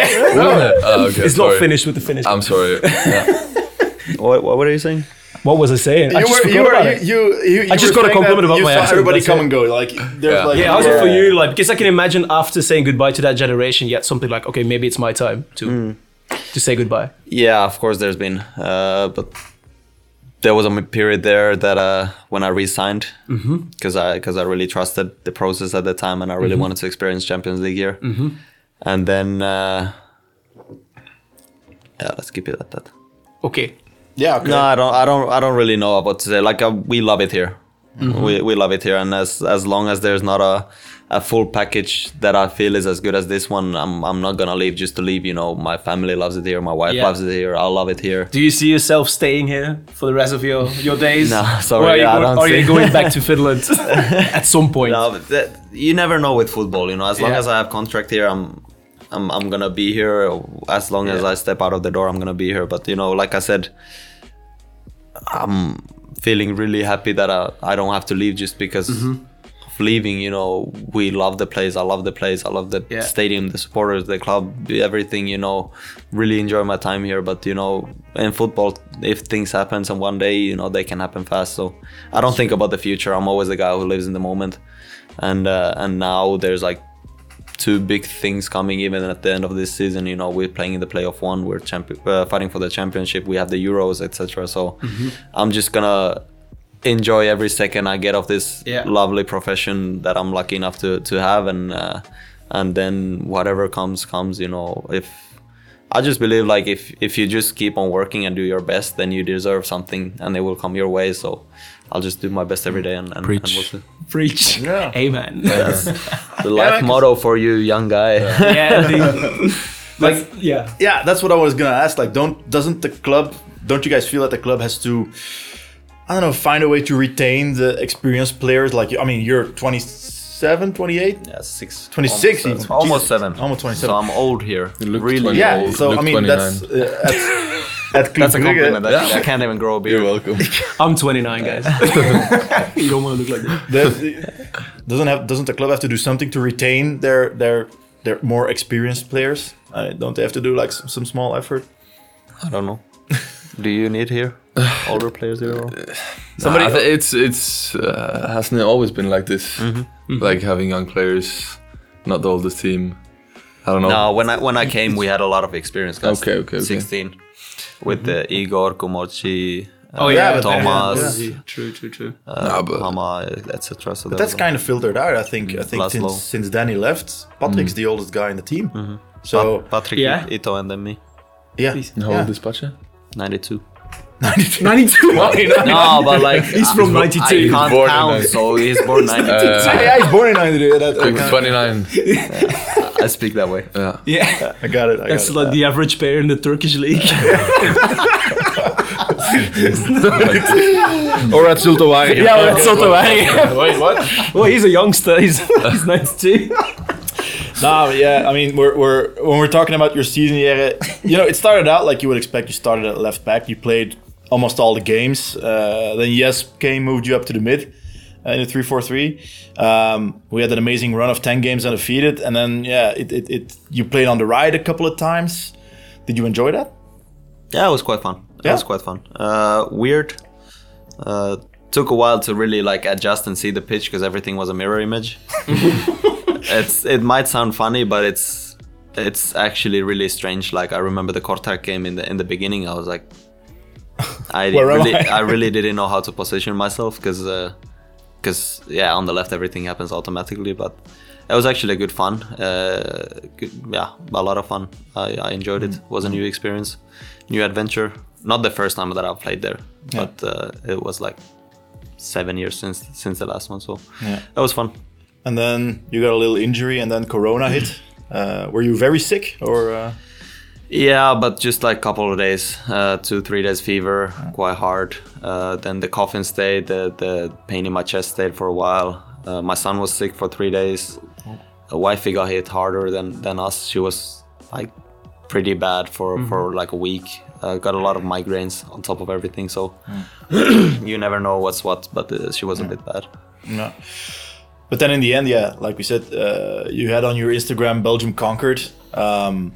A: Oh, okay, sorry.
D: It's
A: Um,
D: not finished with the finish.
A: I'm sorry. Yeah.
B: What, what were you saying?
D: what was I saying? I
C: You
D: just
C: were, you
D: forgot about
C: were,
D: it.
C: you, you, you, you
D: I just
C: were
D: got a
C: saying
D: compliment
C: that
D: about
C: you
D: my
C: saw
D: accent,
C: Everybody
D: that's
C: come
D: it.
C: and go. Like, there's
A: Yeah.
C: like,
D: Yeah, how's it for you? Like, because I can imagine after saying goodbye to that generation, yet something like, okay, maybe it's my time to
B: Mm.
D: to say goodbye.
B: Yeah, of course there's been, uh, but there was a m- period there that uh, when I resigned
D: Mm-hmm.
B: because I because I really trusted the process at the time and I really
D: Mm-hmm.
B: wanted to experience Champions League here. And then uh, yeah, let's keep it at that.
D: Okay,
C: Yeah, okay.
B: No, I don't. I don't. I don't really know what to say. Like uh, we love it here.
D: Mm-hmm.
B: We we love it here, and as as long as there's not a a full package that I feel is as good as this one, I'm I'm not gonna leave just to leave. You know, my family loves it here. My wife
D: Yeah.
B: loves it here. I love it here.
D: do you see yourself staying here for the rest of your your days?
B: No,
D: Or are
B: sorry,
D: you,
B: I
D: go-
B: don't
D: are you
B: see-
D: going back to Finland at some point?
B: No, but that, you never know with football. You know, as long
D: Yeah.
B: as I have contract here, I'm, I'm, I'm gonna be here. As long as I step out of the door, I'm gonna be here. But you know, like I said, I'm feeling really happy that I, I don't have to leave just because of leaving. You know, we love the place. I love the place. I love the
D: Yeah.
B: stadium, the supporters, the club, everything. You know, really enjoy my time here. But you know, in football, if things happen, and one day, you know, they can happen fast. So I don't think about the future. I'm always the guy who lives in the moment and uh, and now there's like two big things coming even at the end of this season. You know, we're playing in the playoff one, we're champion, uh, fighting for the championship, we have the Euros, etc. So I'm just gonna enjoy every second I get of this
G: Yeah.
B: lovely profession that I'm lucky enough to to have, and uh, and then whatever comes comes. You know, if I just believe like if if you just keep on working and do your best, then you deserve something, and it will come your way. So. I'll just do my best every day and, and, and
D: Preach.
B: we'll see.
D: Preach.
C: Ja.
D: Amen.
B: The life motto for you, young guy.
D: Yeah, indeed.
C: Like,
D: yeah.
C: yeah, that's what I was gonna ask. Like, don't doesn't the club? Don't you guys feel that the club has to? I don't know, find a way to retain the experienced players. Like, I mean, you're 27, 28,
B: Yeah, six. Almost,
C: 26 even.
B: seven. Almost
C: Jesus.
B: seven.
C: Almost 27.
B: So I'm old here.
A: looked
B: Really
A: 20.
C: Yeah,
A: Well,
C: so I
A: look
C: mean
A: 29.
C: that's uh, at, at
B: That's a
C: Club Brugge-
B: compliment. actually. I can't even grow a beard.
A: welcome.
D: I'm 29, guys. you don't want to look like that.
C: the- doesn't have doesn't the club have to do something to retain their their their more experienced players? Uh, don't they have to do like some, some small effort?
B: I don't know. Do you need here older players here? or-
A: Somebody it's it's uh, hasn't it always been like this? Like having young players, not the oldest team. I don't know.
B: No, when I when I came, we had a lot of experience. Guys.
A: Okay, okay, Mm-hmm. okay.
B: Sixteen, with uh, Igor Kumochi. Uh,
D: Oh,
C: yeah, but-
B: Thomas,
C: yeah.
D: True, true, true.
A: Nah,
B: uh,
A: but-
B: Hama, etc. So
C: That's kind of filtered out, I think. I think
B: Laszlo.
C: since, since Danny left, Patrick's the oldest guy in the team. So
B: Patrick
D: Yeah.
B: Ito and then me,
C: yeah,
A: How
C: yeah.
A: old is Pacha?
B: ninety-two.
D: 92.
B: No, but like
D: He's from 92.
B: I can't
A: Born in
B: count,
A: 92.
B: so he's born ninety-two.
A: Uh,
C: yeah, he's born in Nigeria. That, I, got it.
A: Twenty nine.
B: I speak that way.
A: Yeah.
D: Yeah,
C: I got it. I
D: that's
C: got
D: like the average player in the Turkish league.
C: Or at Zultawari.
D: yeah, well, that's not the way.
C: Wait, what?
D: Well, he's a youngster. He's, he's 92.
C: Nah, but Ah, yeah, I mean, we're, we're when we're talking about your season, Jere, you know, it started out like you would expect. You started at left back, you played almost all the games. Uh, then Yes came, moved you up to the mid uh, in a 3 4 3. Um, we had an amazing run of 10 games undefeated, and then, yeah, it, it, it you played on the right a couple of times. Did you enjoy that?
B: Yeah, it was quite fun. It
C: Yeah?
B: was quite fun. Uh, weird. Uh, took a while to really like adjust and see the pitch because everything was a mirror image. it's it might sound funny, but it's it's actually really strange. Like I remember the Cortar game in the in the beginning. I was like, I
C: Where am
B: really
C: I?
B: I really didn't know how to position myself because. Uh, because yeah on the left everything happens automatically but it was actually good fun uh, good, yeah a lot of fun I, I enjoyed it it was a new experience new adventure not the first time that i played there but uh, it was like seven years since since the last one so
C: Yeah.
B: that was fun
C: And then you got a little injury, and then Corona hit. Uh, were you very sick, or uh,
B: yeah but just like a couple of days uh, two three days fever quite hard uh, then the coughing stayed the, the pain in my chest stayed for a while uh, my son was sick for three days a wifey got hit harder than than us. She was like pretty bad for for like a week. Uh, got a lot of migraines on top of everything, so you never know what's what. But uh, she was a bit bad.
C: No. But then in the end, yeah, like we said, uh, you had on your Instagram Belgium conquered. Um,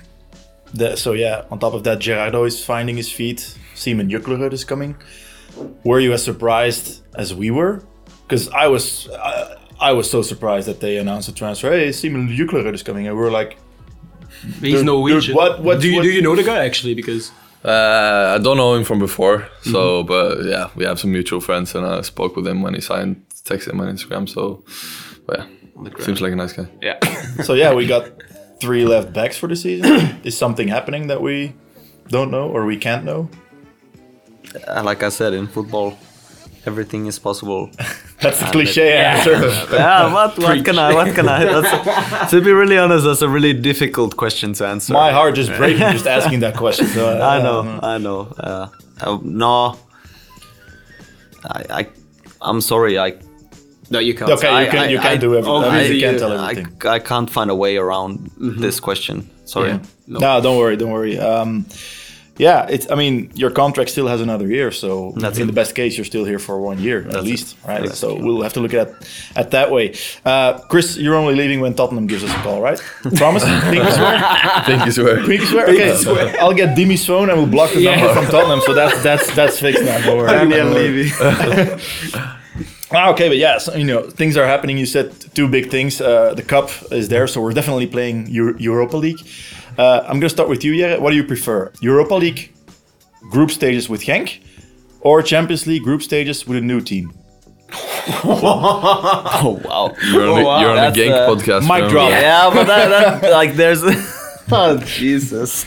C: the, so yeah, on top of that, Gerardo is finding his feet. Simon Juklerud is coming. Were you as surprised as we were? Because I was, I, I was so surprised that they announced the transfer. Hey, Simon Juklerud is coming, and we were like,
D: He's
C: Dude,
D: Norwegian.
C: dude, what- what-
D: do, you,
C: what-
D: do you know the guy, actually? Because
A: Uh, I don't know him from before, so but yeah, we have some mutual friends, and I spoke with him when he signed, texted him on Instagram. So, but yeah, seems like a nice guy.
D: yeah.
C: so yeah, we got three left backs for the season. is something happening that we don't know or we can't know?
B: Uh, like I said, in football, everything is possible.
C: That's the cliche answer.
B: yeah, Ah, what what can I? What can I? That's, to be really honest, that's a really difficult question to answer.
C: My heart just breaking just asking that question. So, uh,
B: I know, I know. Uh, uh, no, I, I, I'm sorry. I
G: No, you can't.
C: Okay, you
B: I-
C: can
B: I-
C: you can
B: I-
C: do everything. I mean,
B: I-
C: you can
B: uh,
C: tell
B: I,
C: everything. Mm-hmm.
B: I can't find a way around this question. Sorry.
C: no. don't worry, don't worry. Um, yeah, it's. I mean, your contract still has another year, so
B: That's
C: in
B: it.
C: the best case, you're still here for one year at
B: That's it.
C: least, right?
B: That's
C: so we'll have to look at at that way. Uh, Chris, you're only leaving when Tottenham gives us a call, right? Promise? Think you swear?
A: Thank you,
C: Think you swear? Okay, I'll get Dimi's phone and we'll block the number from Tottenham. So that's that's that's fixed now. Don't worry. Ah, okay, but yes, you know things are happening. You said two big things. Uh, the cup is there, so we're definitely playing Euro- Europa League. Uh, I'm gonna start with you, Jere. What do you prefer, Europa League group stages with Genk, or Champions League group stages with a new team?
B: Oh wow.
A: You're on, the,
B: wow.
A: you're on
B: That's,
A: the Genk
B: uh,
A: podcast.
C: mic
A: remember?
C: drop.
B: Yeah, but that, that like there's. oh Jesus.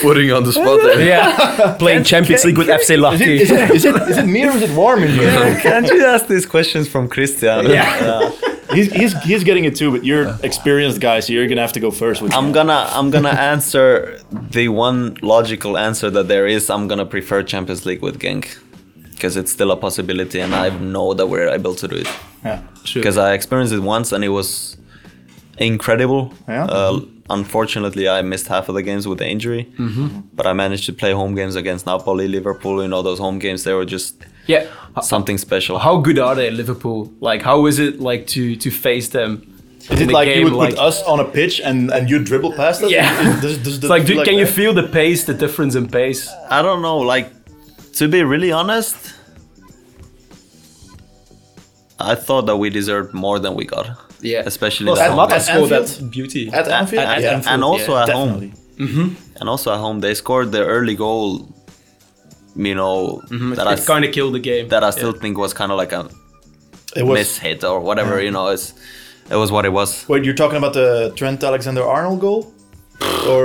A: Putting on the spot there.
D: Yeah, playing Champions League with FC
C: Is
D: Lahti.
C: it, is it, is it me or is it warm in here?
B: Can't you ask these questions from Christian? Yeah.
C: He's, he's, he's getting it too, but you're experienced guy, so you're gonna have to go first. With
B: I'm gonna I'm gonna answer the one logical answer that there is. I'm gonna prefer Champions League with Genk because it's still a possibility, and I know that we're able to do it
C: yeah.
B: because I experienced it once and it was incredible.
C: Yeah.
B: Uh, unfortunately, I missed half of the games with the injury, but I managed to play home games against Napoli, Liverpool. You know those home games; they were just
D: Yeah.
B: something special.
D: How good are they, Liverpool? Like, how is it like to to face them?
C: Is
D: in
C: it
D: the
C: like
D: game,
C: you would
D: like-
C: put us on a pitch and, and you dribble past us?
D: Yeah.
C: Is- does- does that
D: It's like,
C: feel
D: do, can you
C: that?
D: feel the pace, the difference in pace?
B: I don't know, like to be really honest, I thought that we deserved more than we got.
D: Yeah.
B: Especially
D: Well,
B: in the
D: at
B: home
D: Loftus
B: games.
C: At
D: scored
C: Anfield?
D: that beauty.
C: at Anfield?
B: and,
C: Yeah.
B: and also at
C: Definitely.
B: home. And also at home they scored their early goal, you know,
C: Mm-hmm.
B: that I
D: It kind of killed the game.
B: that I still think was kind of like a
C: It was.
B: miss hit or whatever, you know, it's it was what it was.
C: Wait, you're talking about the Trent Alexander-Arnold goal? or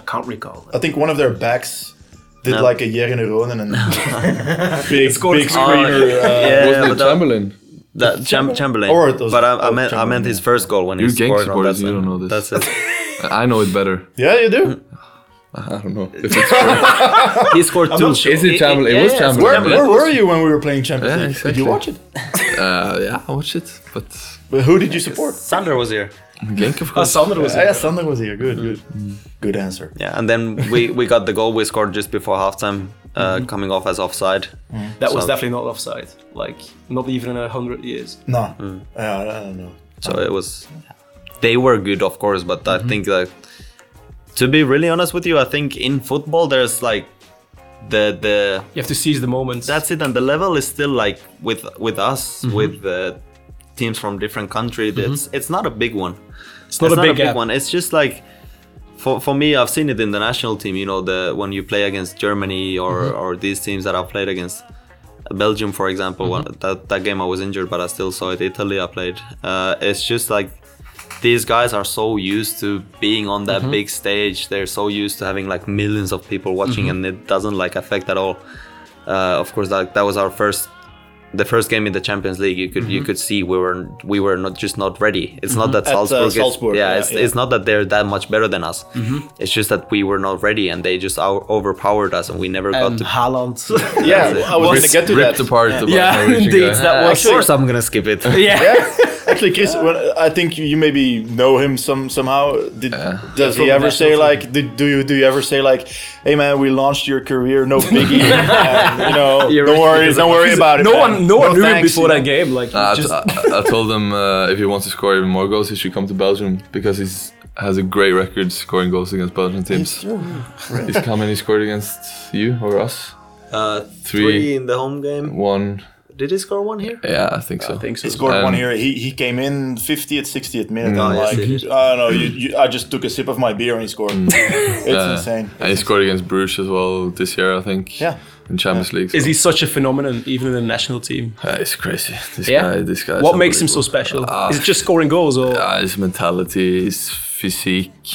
D: I can't recall.
C: I think one of their backs did
B: No.
C: like a Jeren Ronen and big, big
B: Oh,
C: screener. Uh,
B: yeah,
A: Wasn't
B: but
A: it
B: that-
A: Chamberlain?
B: That Cham- Chamberlain.
C: Or it was-
B: but I, I meant I
C: oh,
B: meant
C: Chamberlain,
B: his first goal when
A: You
B: he
A: gang
B: scored. on
A: supporters,
B: that
A: you don't know
B: one.
A: this.
B: That's it.
A: I know it better.
C: yeah, you do.
A: I don't know. If it's correct.
D: He scored two.
A: Is it Chamberlain? It was
B: yeah, it's
A: Chamberlain.
C: Where,
A: yeah.
C: where were you when we were playing Champions
A: Yeah,
C: League? Did
A: exactly.
C: you watch it?
A: Uh, yeah, I watched it, but
C: But who did you support?
B: Sander was here.
A: Genk, of
D: Oh,
A: course.
D: Sander was
C: Yeah, yeah, Sander was here. Good, good, good answer.
B: Yeah, and then we, we got the goal we scored just before halftime, uh, coming off as offside.
D: That was
B: So-
D: definitely not offside. Like, not even in a hundred years.
C: No, yeah, Uh, I don't know.
B: So it was. They were good, of course, but I think that, to be really honest with you, I think in football there's like the the
D: You have to seize the moments.
B: that's it, and the level is still like with with us with uh, teams from different countries. It's it's not a big one.
D: it's not
B: it's
D: a big, gap.
B: one. It's just like for, for me, I've seen it in the national team. You know, the when you play against Germany or
D: Mm-hmm.
B: or these teams that I've played against. Belgium, for example,
D: Mm-hmm.
B: one- that that game I was injured, but I still saw it. Italy, I played. Uh, it's just like these guys are so used to being on that
C: Mm-hmm.
B: big stage. They're so used to having like millions of people watching, and
C: Mm-hmm.
B: it doesn't like affect at all. Uh, of course, that that was our first the first game in the Champions League, you could you could see we were we were not just not ready. It's not that
C: Mm-hmm. At, uh,
B: Salzburg, is-
C: Salzburg,
B: yeah,
C: yeah,
B: it's,
C: yeah. Mm-hmm.
B: it's not that they're that much better than us. It's just that we were not ready, and they just out- overpowered us, and we never got
D: And
B: to.
D: Haaland.
C: Yeah,
B: That's it.
C: I was
A: Ripped-
C: gonna get to
A: ripped
C: that.
A: apart. the Norwegian guy.
D: That
B: Uh, of course, I'm gonna skip it.
D: yeah.
C: Actually, Chris, when, I think you, you maybe know him some somehow. Did,
D: Uh,
C: Does he ever say like, did, do you do you ever say like, hey man, we launched your career, no biggie, and, you know, don't worry, don't worry about it.
D: No
C: man.
D: one, no one knew him
C: thanks,
D: before
C: you
D: that
C: know.
D: game. Like,
A: I,
D: it's just
A: I, I told him uh, if he wants to score even more goals, he should come to Belgium because he's has a great record scoring goals against Belgian teams. He's come and he scored against you or us.
B: Uh,
A: Three.
B: three in the home game.
A: One,
B: Did he score one here?
A: yeah, I think so. I
D: think so.
C: He scored
A: Um,
C: one here. He, he came in 50th, 60th minute.
D: Mm.
A: No,
D: Oh,
C: and
B: yes,
C: like,
B: he did.
C: I don't know. You, you, I just took a sip of my beer and he scored.
D: Mm.
C: it's
D: Uh,
C: insane.
A: Uh, And he scored against Bruges as well this year, I think.
C: Yeah.
A: In Champions League. so-
D: is he such a phenomenon, even in the national team?
A: Uh, it's crazy. This
D: Yeah?
A: guy. This guy. is
D: What makes him so
A: unbelievable.
D: special?
A: Ah.
D: is it just scoring goals, or
A: Uh, his mentality, his physique,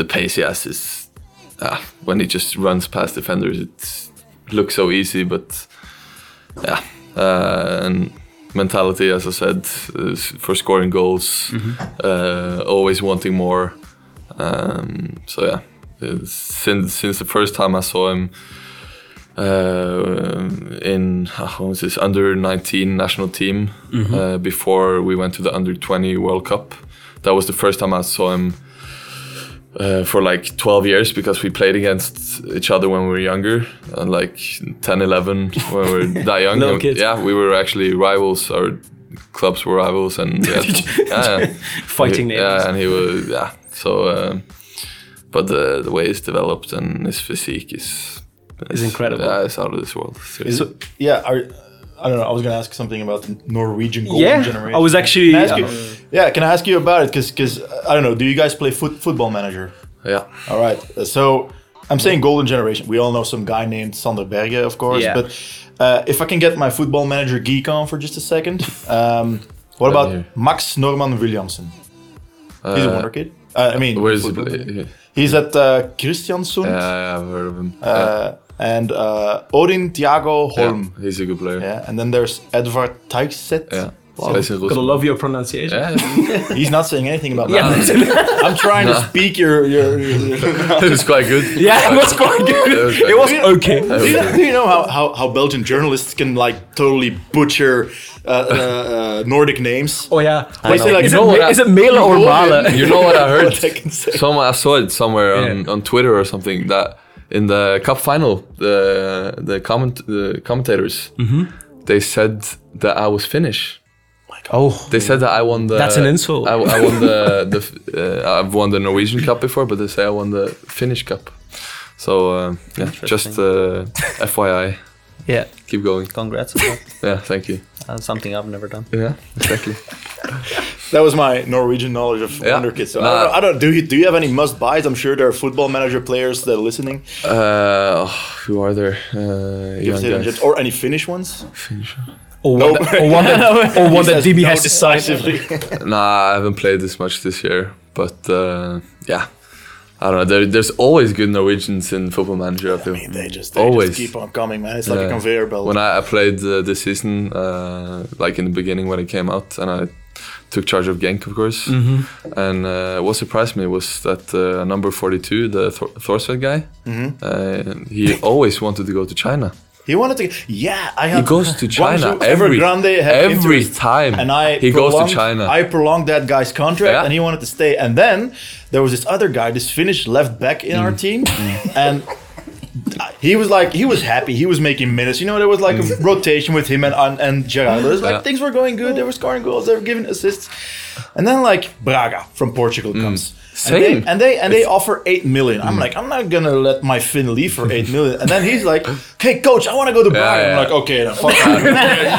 A: the pace he has is. Uh, when he just runs past defenders, it looks so easy, but yeah. Uh, and mentality, as I said, is for scoring goals, uh, always wanting more. Um, so yeah, it's- since since the first time I saw him uh, in uh, what was this under 19 national team
D: Mm-hmm.
A: uh, before we went to the under 20 World Cup. That was the first time I saw him uh, for like 12 years because we played against each other when we were younger, and like 10, 11 when we were that young.
D: Little
A: And-
D: kids.
A: Yeah, we were actually rivals. Our clubs were rivals, and yeah, yeah,
D: fighting
A: he,
D: names?
A: yeah, and he was yeah. So, um, but the the way he's developed and his physique is
D: Is incredible.
A: Yeah, it's out of this world.
C: Is- yeah, are, I don't know. I was gonna ask something about the Norwegian golden
D: Yeah,
C: generation.
D: I was actually. uh,
C: Can I ask you- yeah, can I ask you about it? Because I don't know. Do you guys play foot, Football Manager?
A: Yeah.
C: All right. uh, So I'm saying golden generation. We all know some guy named Sander Berge, of course.
B: Yeah.
C: But uh, if I can get my Football Manager geek on for just a second, um, what about
A: here.
C: Max Norman Williamson? He's a wonder kid. Uh, I mean,
A: Where is he?
C: football-
A: play-
C: he's at uh, Kristiansund
A: Yeah, I've heard of him. Yeah.
C: uh, and uh, Odin Thiago Holm.
A: Yeah, he's a good player.
C: Yeah. and then there's Edvard Teixeira.
A: Yeah. Plays in
D: Gotta
A: Rosenborg.
D: love your pronunciation.
A: Yeah,
C: He's not saying anything about
D: Yeah,
A: Uh,
C: that. I'm trying to speak your. your, your, your-
A: it was quite good.
D: yeah it was quite good.
A: It was quite
D: It was
A: good.
D: okay.
C: Do you, know, do you know how, how, how Belgian journalists can like totally butcher uh, uh, uh, Nordic names?
D: Oh yeah.
C: They say, like,
D: Is,
A: know
D: it,
A: that-
D: is it mailen or malen?
A: You know what I heard?
C: What I can say.
A: Some I saw it somewhere on,
D: Yeah.
A: on Twitter or something that in the cup final the the comment the commentators
D: Mm-hmm.
A: they said that I was Finnish.
D: Oh.
A: They said that I won the.
D: That's an insult.
A: I, I won the the f- uh, I've won the Norwegian Cup before, but they say I won the Finnish Cup. So uh, yeah, just uh, FYI,
B: Yeah.
A: keep going.
B: Congrats. as well.
A: Yeah, thank you.
B: That's something I've never done.
A: Yeah, exactly.
C: That was my Norwegian knowledge of
A: Yeah.
C: Wonder Kids. So I
A: Nah.
C: don't, know, I don't do you do you have any must buys? I'm sure there are football manager players that are listening.
A: Uh, oh, who are there? Uh,
C: Give us
A: young
C: it
A: guys.
C: or any Finnish ones?
A: Finnish.
D: Or one, that, or one that, or one that
C: Says
D: DB
C: no
D: has to sign.
C: decisively.
A: Nah, I haven't played this much this year, but uh, yeah, I don't know. There, there's always good Norwegians in Football Manager. I feel.
C: they just they
A: Always.
C: just keep on coming, man. It's like a
A: Yeah.
C: conveyor belt.
A: uh, When I, I played uh, this season, uh, like in the beginning when it came out, and I took charge of Genk, of course. And uh, what surprised me was that uh, number 42, the Thor- Thorsved guy,
C: Mm-hmm.
A: uh, he always wanted to go to China.
C: He wanted to. Yeah, I
A: He
C: had.
A: goes to
C: Guangzhou
A: China every
C: Evergrande had
A: every
C: interest,
A: time.
C: and I
A: he goes to
C: prolonged-
A: China.
C: I prolonged that guy's contract,
A: Yeah.
C: and he wanted to stay. And then there was this other guy, this Finnish left back in
A: Mm.
C: our team, and. He was like, he was happy. He was making minutes. You know, there was like a rotation with him and and, and Gerardo. It was like
A: Mm. Yeah.
C: things were going good. They were scoring goals. They were giving assists. And then like Braga from Portugal comes.
A: Mm. Same. Mm.
C: And they and they, and they offer eight million. I'm like, I'm not gonna let my Finn leave for eight million. And then he's like, Hey, coach, I want to go to Braga.
A: yeah.
C: I'm like, okay, then fuck off."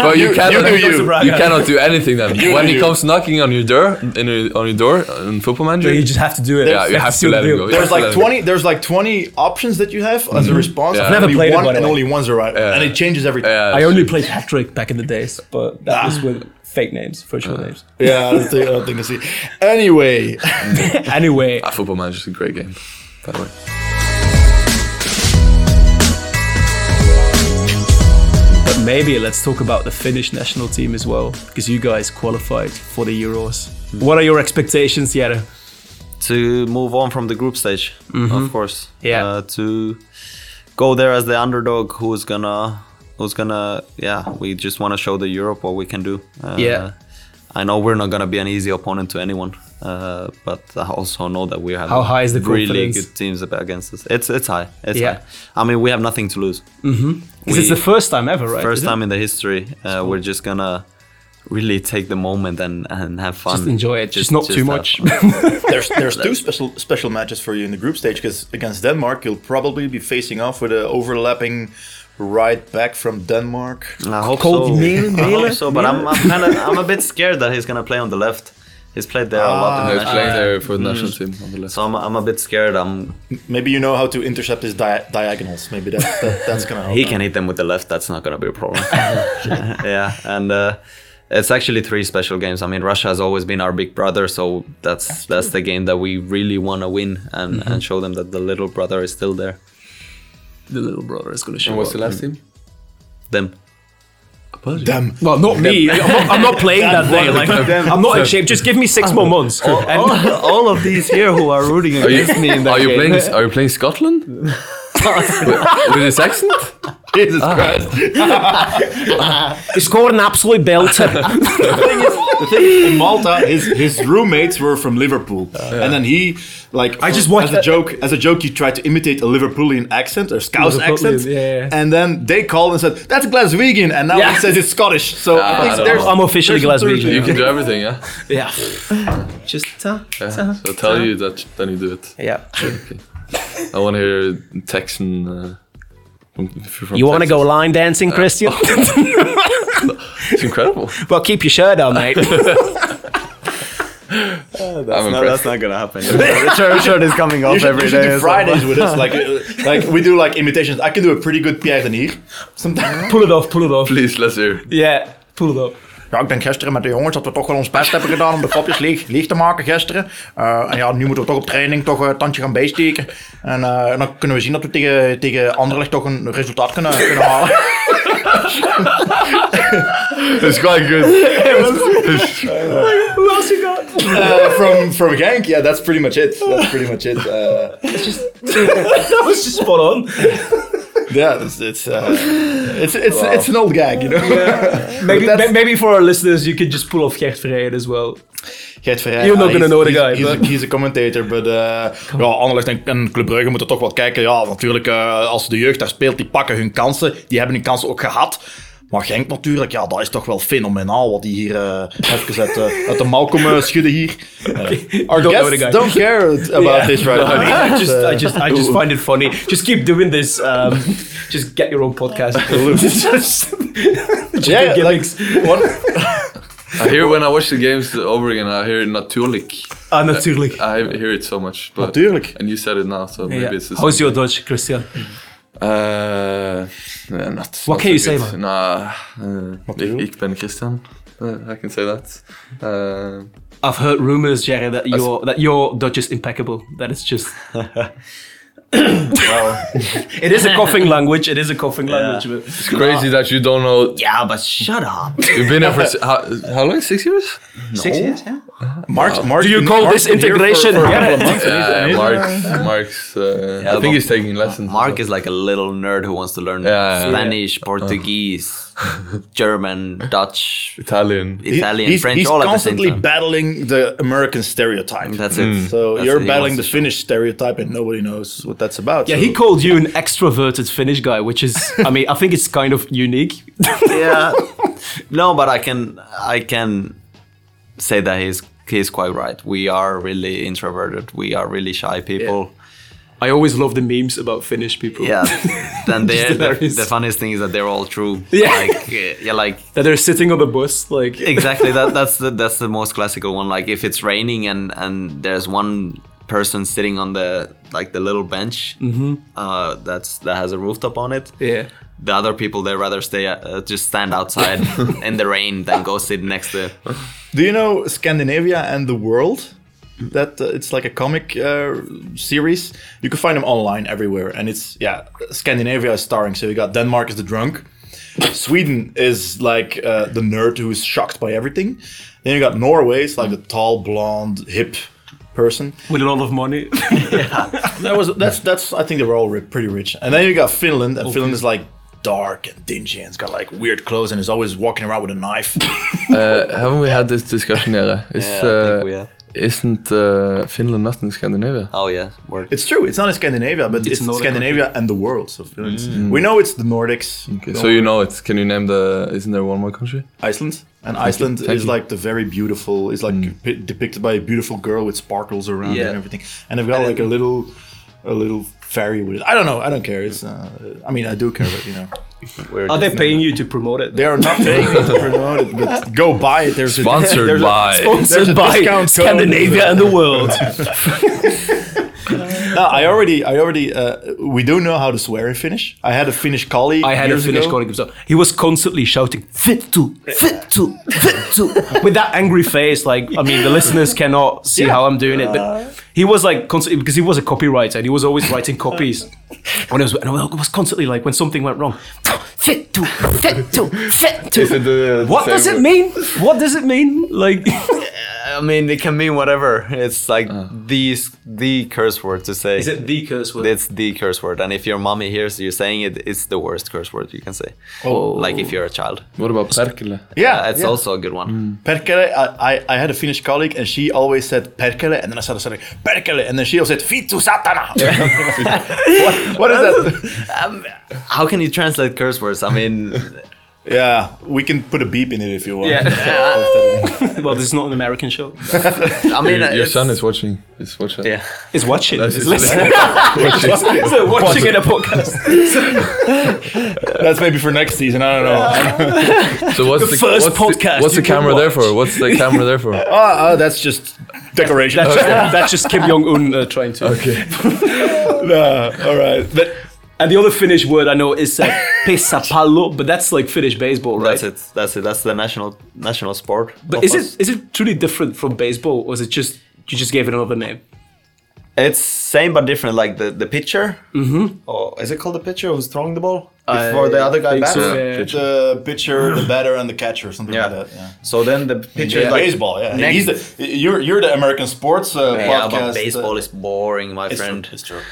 A: But you, cannot,
C: do
A: you,
C: you.
A: cannot do anything then. when he
C: you.
A: comes knocking on your door, in your, on your door, uh, in football manager,
D: You just have to do it.
A: yeah, you have
D: see
A: to let
D: what they
A: him
D: do.
A: go. You have
C: There's
A: to let
C: like
A: him go.
C: 20. There's like 20 options that you have as a response.
A: Mm-hmm. Yeah.
C: and
A: I've
D: never
C: only
D: played it,
C: one
D: by the
C: and
D: way.
C: only one's are right, and it changes every time.
A: Yeah,
D: I only played hat trick back in the days, but that was with fake names,
B: Ah.
D: virtual names.
C: Yeah, I don't think- I don't think I see. Anyway,
D: Anyway,
A: Ah, Football Manager is a great game, by the way.
D: but maybe let's talk about the Finnish national team as well, because you guys qualified for the Euros.
B: Hmm.
D: What are your expectations, Jere?
B: to move on from the group stage, of course.
D: Mm-hmm. Yeah.
B: Uh, to go there as the underdog who's gonna who's gonna yeah, we just wanna show the Europe what we can do. Uh,
D: Yeah.
B: I know we're not gonna be an easy opponent to anyone, uh, but I also know that we have
D: How high is the
B: really
D: confidence?
B: good teams ab- against us. It's it's high. It's
D: Yeah.
B: high. I mean, we have nothing to lose.
D: Because it's
B: We-
D: the first time ever, right?
B: First
D: Is it?
B: time in the history, uh, we're just gonna really take the moment and and have fun.
D: Just enjoy it. Just not too
B: have
D: much.
B: fun.
C: there's there's two special special matches for you in the group stage because against Denmark you'll probably be facing off with an overlapping right back from Denmark.
B: I hope
D: Cold
B: so.
D: Miller-
B: I
D: Miller-
B: hope so, but I'm, I'm kind of I'm a bit scared that he's gonna play on the left. He's played there a lot,
A: I
B: in
A: was
B: the
A: playing
B: national-
A: there for the national team on the left.
B: so I'm, I'm a bit scared. I'm
C: Maybe you know how to intercept his dia- diagonals. Maybe that, that that's gonna help.
B: he can hit them with the left. That's not gonna be a problem. yeah, and uh, it's actually three special games. I mean, Russia has always been our big brother, so that's that's the game that we really want to win and and show them that the little brother is still there.
D: The little brother is going to show
A: And what's the
D: up.
A: last team?
B: Them.
C: Damn.
D: Well, not me. I'm not, I'm not playing that day. Like, I'm not in shape. Just give me six more months. And
B: Ah. all of these here who are rooting
A: Are you,
B: against me in that
A: are you
B: game.
A: playing? Are you playing Scotland? with, with his accent?
C: Jesus Christ.
D: he scored an absolute belter.
C: thing is, the thing is, in Malta, his, his roommates were from Liverpool, and then he like I
D: Uh, just watched
C: as a joke as a joke he tried to imitate a Liverpoolian accent or Scouse
D: Liverpoolian,
C: accent,
D: yeah, yeah.
C: and then they called and said that's Glaswegian, and now
D: Yeah. Uh,
C: he says it's Scottish. So I
A: I
C: think
A: don't
C: there's
A: know.
D: I'm officially
C: There's a
D: Glaswegian.
A: You can do everything, yeah.
D: Yeah. Just uh,
A: yeah. So tell you that, then you do it.
D: yeah.
A: I want to hear Texan uh, If you're from
D: You want to go
A: Texas.
D: line dancing,
B: Uh,
D: Christian?
B: oh.
A: It's incredible.
D: well, keep your shirt on, mate.
A: I'm
B: No,
A: impressed.
B: that's not gonna happen.
C: The
B: shirt, shirt is coming
C: You
B: off
C: should,
B: every
C: you should
B: day.
C: do Fridays with us. Like, uh, like we do like imitations. I can do a pretty good Pierre Denier. Sometimes.
D: pull it off, pull it off.
A: Please, let's hear.
D: Yeah, pull it off.
C: Ja, ik denk gisteren met de jongens dat we toch wel ons best hebben gedaan om de kopjes leeg, leeg te maken gisteren. Eh, en ja, nu moeten we toch op training toch een tandje gaan bijsteken. En eh, en dan kunnen we zien dat we tegen, tegen Anderlecht toch een resultaat kunnen, kunnen halen.
A: It's quite good.
C: Uh, from, from Genk, yeah, that's pretty much it. That's pretty much it. Uh,
D: That was just spot on.
C: yeah, it's, it's, uh, it's, it's, it's an old gag, you know.
D: Maybe,
C: that's-
D: ma- maybe for our listeners, you could just pull off Gert Verheyen as well.
C: Gert Verheyen,
D: You're not
C: ah,
D: gonna
C: he's-
D: know the
C: he's-
D: guy,
C: He's,
D: but-
C: a, he's a commentator, but eh, ja, Anderlecht en, en Club Brugge moeten toch wel kijken. Ja, natuurlijk, eh, als de jeugd daar speelt, die pakken hun kansen. Die hebben hun kansen ook gehad. Maar Genk natuurlijk, ja, dat is toch wel fenomenaal wat die hier eh even uit, eh, uit de mouw komen schudden hier. Eh, our
D: Don't know the
C: guests
D: guy.
C: don't care about this right now.
D: I just, I just, I just
C: Ooh.
D: find it funny. Just keep doing this. Um, just get your own podcast. Just- just
C: Yeah,
D: the
C: like,
D: gimmicks.
C: what-
A: I hear when I watch the games over again, I hear Natuurlijk.
D: Ah, natuurlijk.
A: I hear it so much. But,
C: Natuurlijk.
A: And you said it now, so maybe it's the
D: How's
A: same.
D: your Dutch, Christian?
A: Uh, yeah, not,
D: What
A: not
D: can you
A: so
D: say,
A: good.
D: man?
A: Nah, uh,
C: you?
A: ik, ik ben Christian. Uh, I can say that. Uh,
D: I've heard rumors, Jerry, that your that your Dutch is impeccable. That it's just. it is a coughing language. It is a coughing language. But
A: it's crazy that you don't know.
B: Yeah, but shut up.
A: You've been here for si- how, how long? Six years?
D: six years, yeah.
C: Mark, Mark, Do
D: you call this integration?
A: Yeah, Mark. Mark's. Uh, I
B: but-
A: think he's taking lessons.
B: Mark is like a little nerd who wants to learn
A: Yeah, yeah,
B: Spanish, Portuguese, German, Dutch,
A: Italian.
B: Italian,
C: he's,
B: French,
C: he's
B: all at the same
C: constantly
B: time.
C: battling the American stereotype.
B: That's it.
C: so
B: That's what
C: you're
B: he
C: battling the
B: wants.
C: Finnish stereotype, and nobody knows what that's about.
D: Yeah,
C: so-
D: he called you an extroverted Finnish guy, which is, I mean, I think it's kind of unique.
B: yeah. No, but I can I can say that he's he's quite right. We are really introverted. We are really shy people.
D: I always love the memes about Finnish people.
B: Yeah. Then they the,
D: hilarious.
B: the funniest thing is that they're all true.
D: Yeah.
B: Like eh, yeah, like
D: That they're sitting on the bus, like.
B: exactly that that's the that's the most classical one. Like if it's raining and and there's one person sitting on the like the little bench
C: Mm-hmm.
B: uh, that's that has a rooftop on it.
D: Yeah.
B: The other people they rather stay uh, just stand outside in the rain than go sit next to
C: Do you know Scandinavia and the World? That uh, it's like a comic uh, series. You can find them online everywhere, and it's yeah, Scandinavia is starring. So you got Denmark is the drunk, Sweden is like uh, the nerd who is shocked by everything. Then you got Norway, it's like the tall, blonde, hip person.
D: With a lot of money.
C: That was that's that's I think they were all ri- pretty rich. And then you got Finland,
D: Oh,
C: and Finland is like dark and dingy, and it's got like weird clothes, and is always walking around with a knife.
A: Uh, haven't we had this discussion here? Is,
B: Yeah, I think we
A: uh,
B: have.
A: isn't uh, Finland not in Scandinavia?
B: Oh yeah, work.
C: It's true. It's not in Mm. Scandinavia, but it's,
D: Nordic
C: Scandinavia and the world. So it's- we know it's the Nordics,
A: Okay, so you know it. Can you name the? Isn't there one more country?
C: Iceland, and Iceland
A: Thank
C: is
A: you. Mm.
C: like the very beautiful. Is like pi- depicted by a beautiful girl with sparkles around
B: Yeah.
C: and everything. And they've got like a little, a little fairy with it. I don't know. I don't care. It's. Uh, I mean, I do care, but you know,
D: Are they paying you to promote it?
C: they are not paying me to promote it. But go buy it. There's A,
A: Sponsored
C: there's
A: by.
C: There's a
D: Sponsored by
C: discount code.
D: Scandinavia and the world.
C: no, I already, I already. Uh, we do know how to swear in Finnish. I had a Finnish colleague.
D: I had a
C: years
D: Finnish
C: ago.
D: colleague himself. He was constantly shouting "Vittu, Vittu, Vittu" with that angry face. Like, I mean, the listeners cannot see how I'm doing it, but he was like constantly because he was a copywriter and he was always writing copies. When I was, and I was constantly like when something went wrong. Vittu, Vittu, Vittu. What does it mean? What does it mean? Like,
B: I mean, it can mean whatever. It's like these the curse word to say.
D: is it the curse word?
B: It's the curse word, and if your mommy hears you saying it, it's the worst curse word you can say. Oh. Like if you're a child,
A: What about Perkele?
C: Yeah,
B: it's also a good one.
C: Perkele, I, I, I had a Finnish colleague and she always said Perkele, and then I started saying Perkele, and then she also said Fitu Satana. what, what is that?
B: How can you translate curse words? I mean,
C: Yeah, we can put a beep in it if you want.
D: well, this is not an American show.
B: I
A: Your,
B: mean,
A: your
B: it's-
A: son is watching. Is watching.
B: Yeah.
D: It's watching.
A: That's
D: It's
A: his-
D: listening.
C: That's,
D: It's watching in a podcast.
C: maybe for next season. I don't know.
A: So what's the,
C: first
A: what's
C: podcast
A: The, what's
C: you
A: the
C: can
A: camera there
C: watch.
A: for? What's the camera there for?
C: Oh, uh, that's just decoration.
D: That's, that's just Kim Jong Un uh, trying to.
C: Nah, all right. But
D: And the other Finnish word I know is uh, pesapallo, but that's like Finnish baseball, right?
B: That's it. That's it. That's the national national sport.
D: But
B: of
D: is
B: us.
D: it is it truly different from baseball, or is it just you just gave it another name?
B: It's same but different. Like the the pitcher. Mm-hmm. Or is it called the pitcher who's throwing the ball before the other guy
D: think
B: bats?
D: so,
B: So.
D: yeah.
C: the pitcher, the batter, and the catcher, something
B: Yeah.
C: like that. Yeah.
B: then the pitcher
C: Yeah,
B: is like
C: baseball. Yeah,
B: next-
C: he's the, you're you're the American sports uh, Mm.
B: Yeah,
C: podcast.
B: but baseball
C: uh,
B: is boring, my
C: it's
B: friend.
C: true, it's true.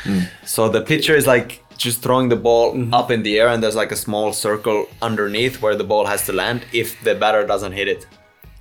B: So the pitcher is like just throwing the ball up in the air, and there's like a small circle underneath where the ball has to land if the batter doesn't hit it.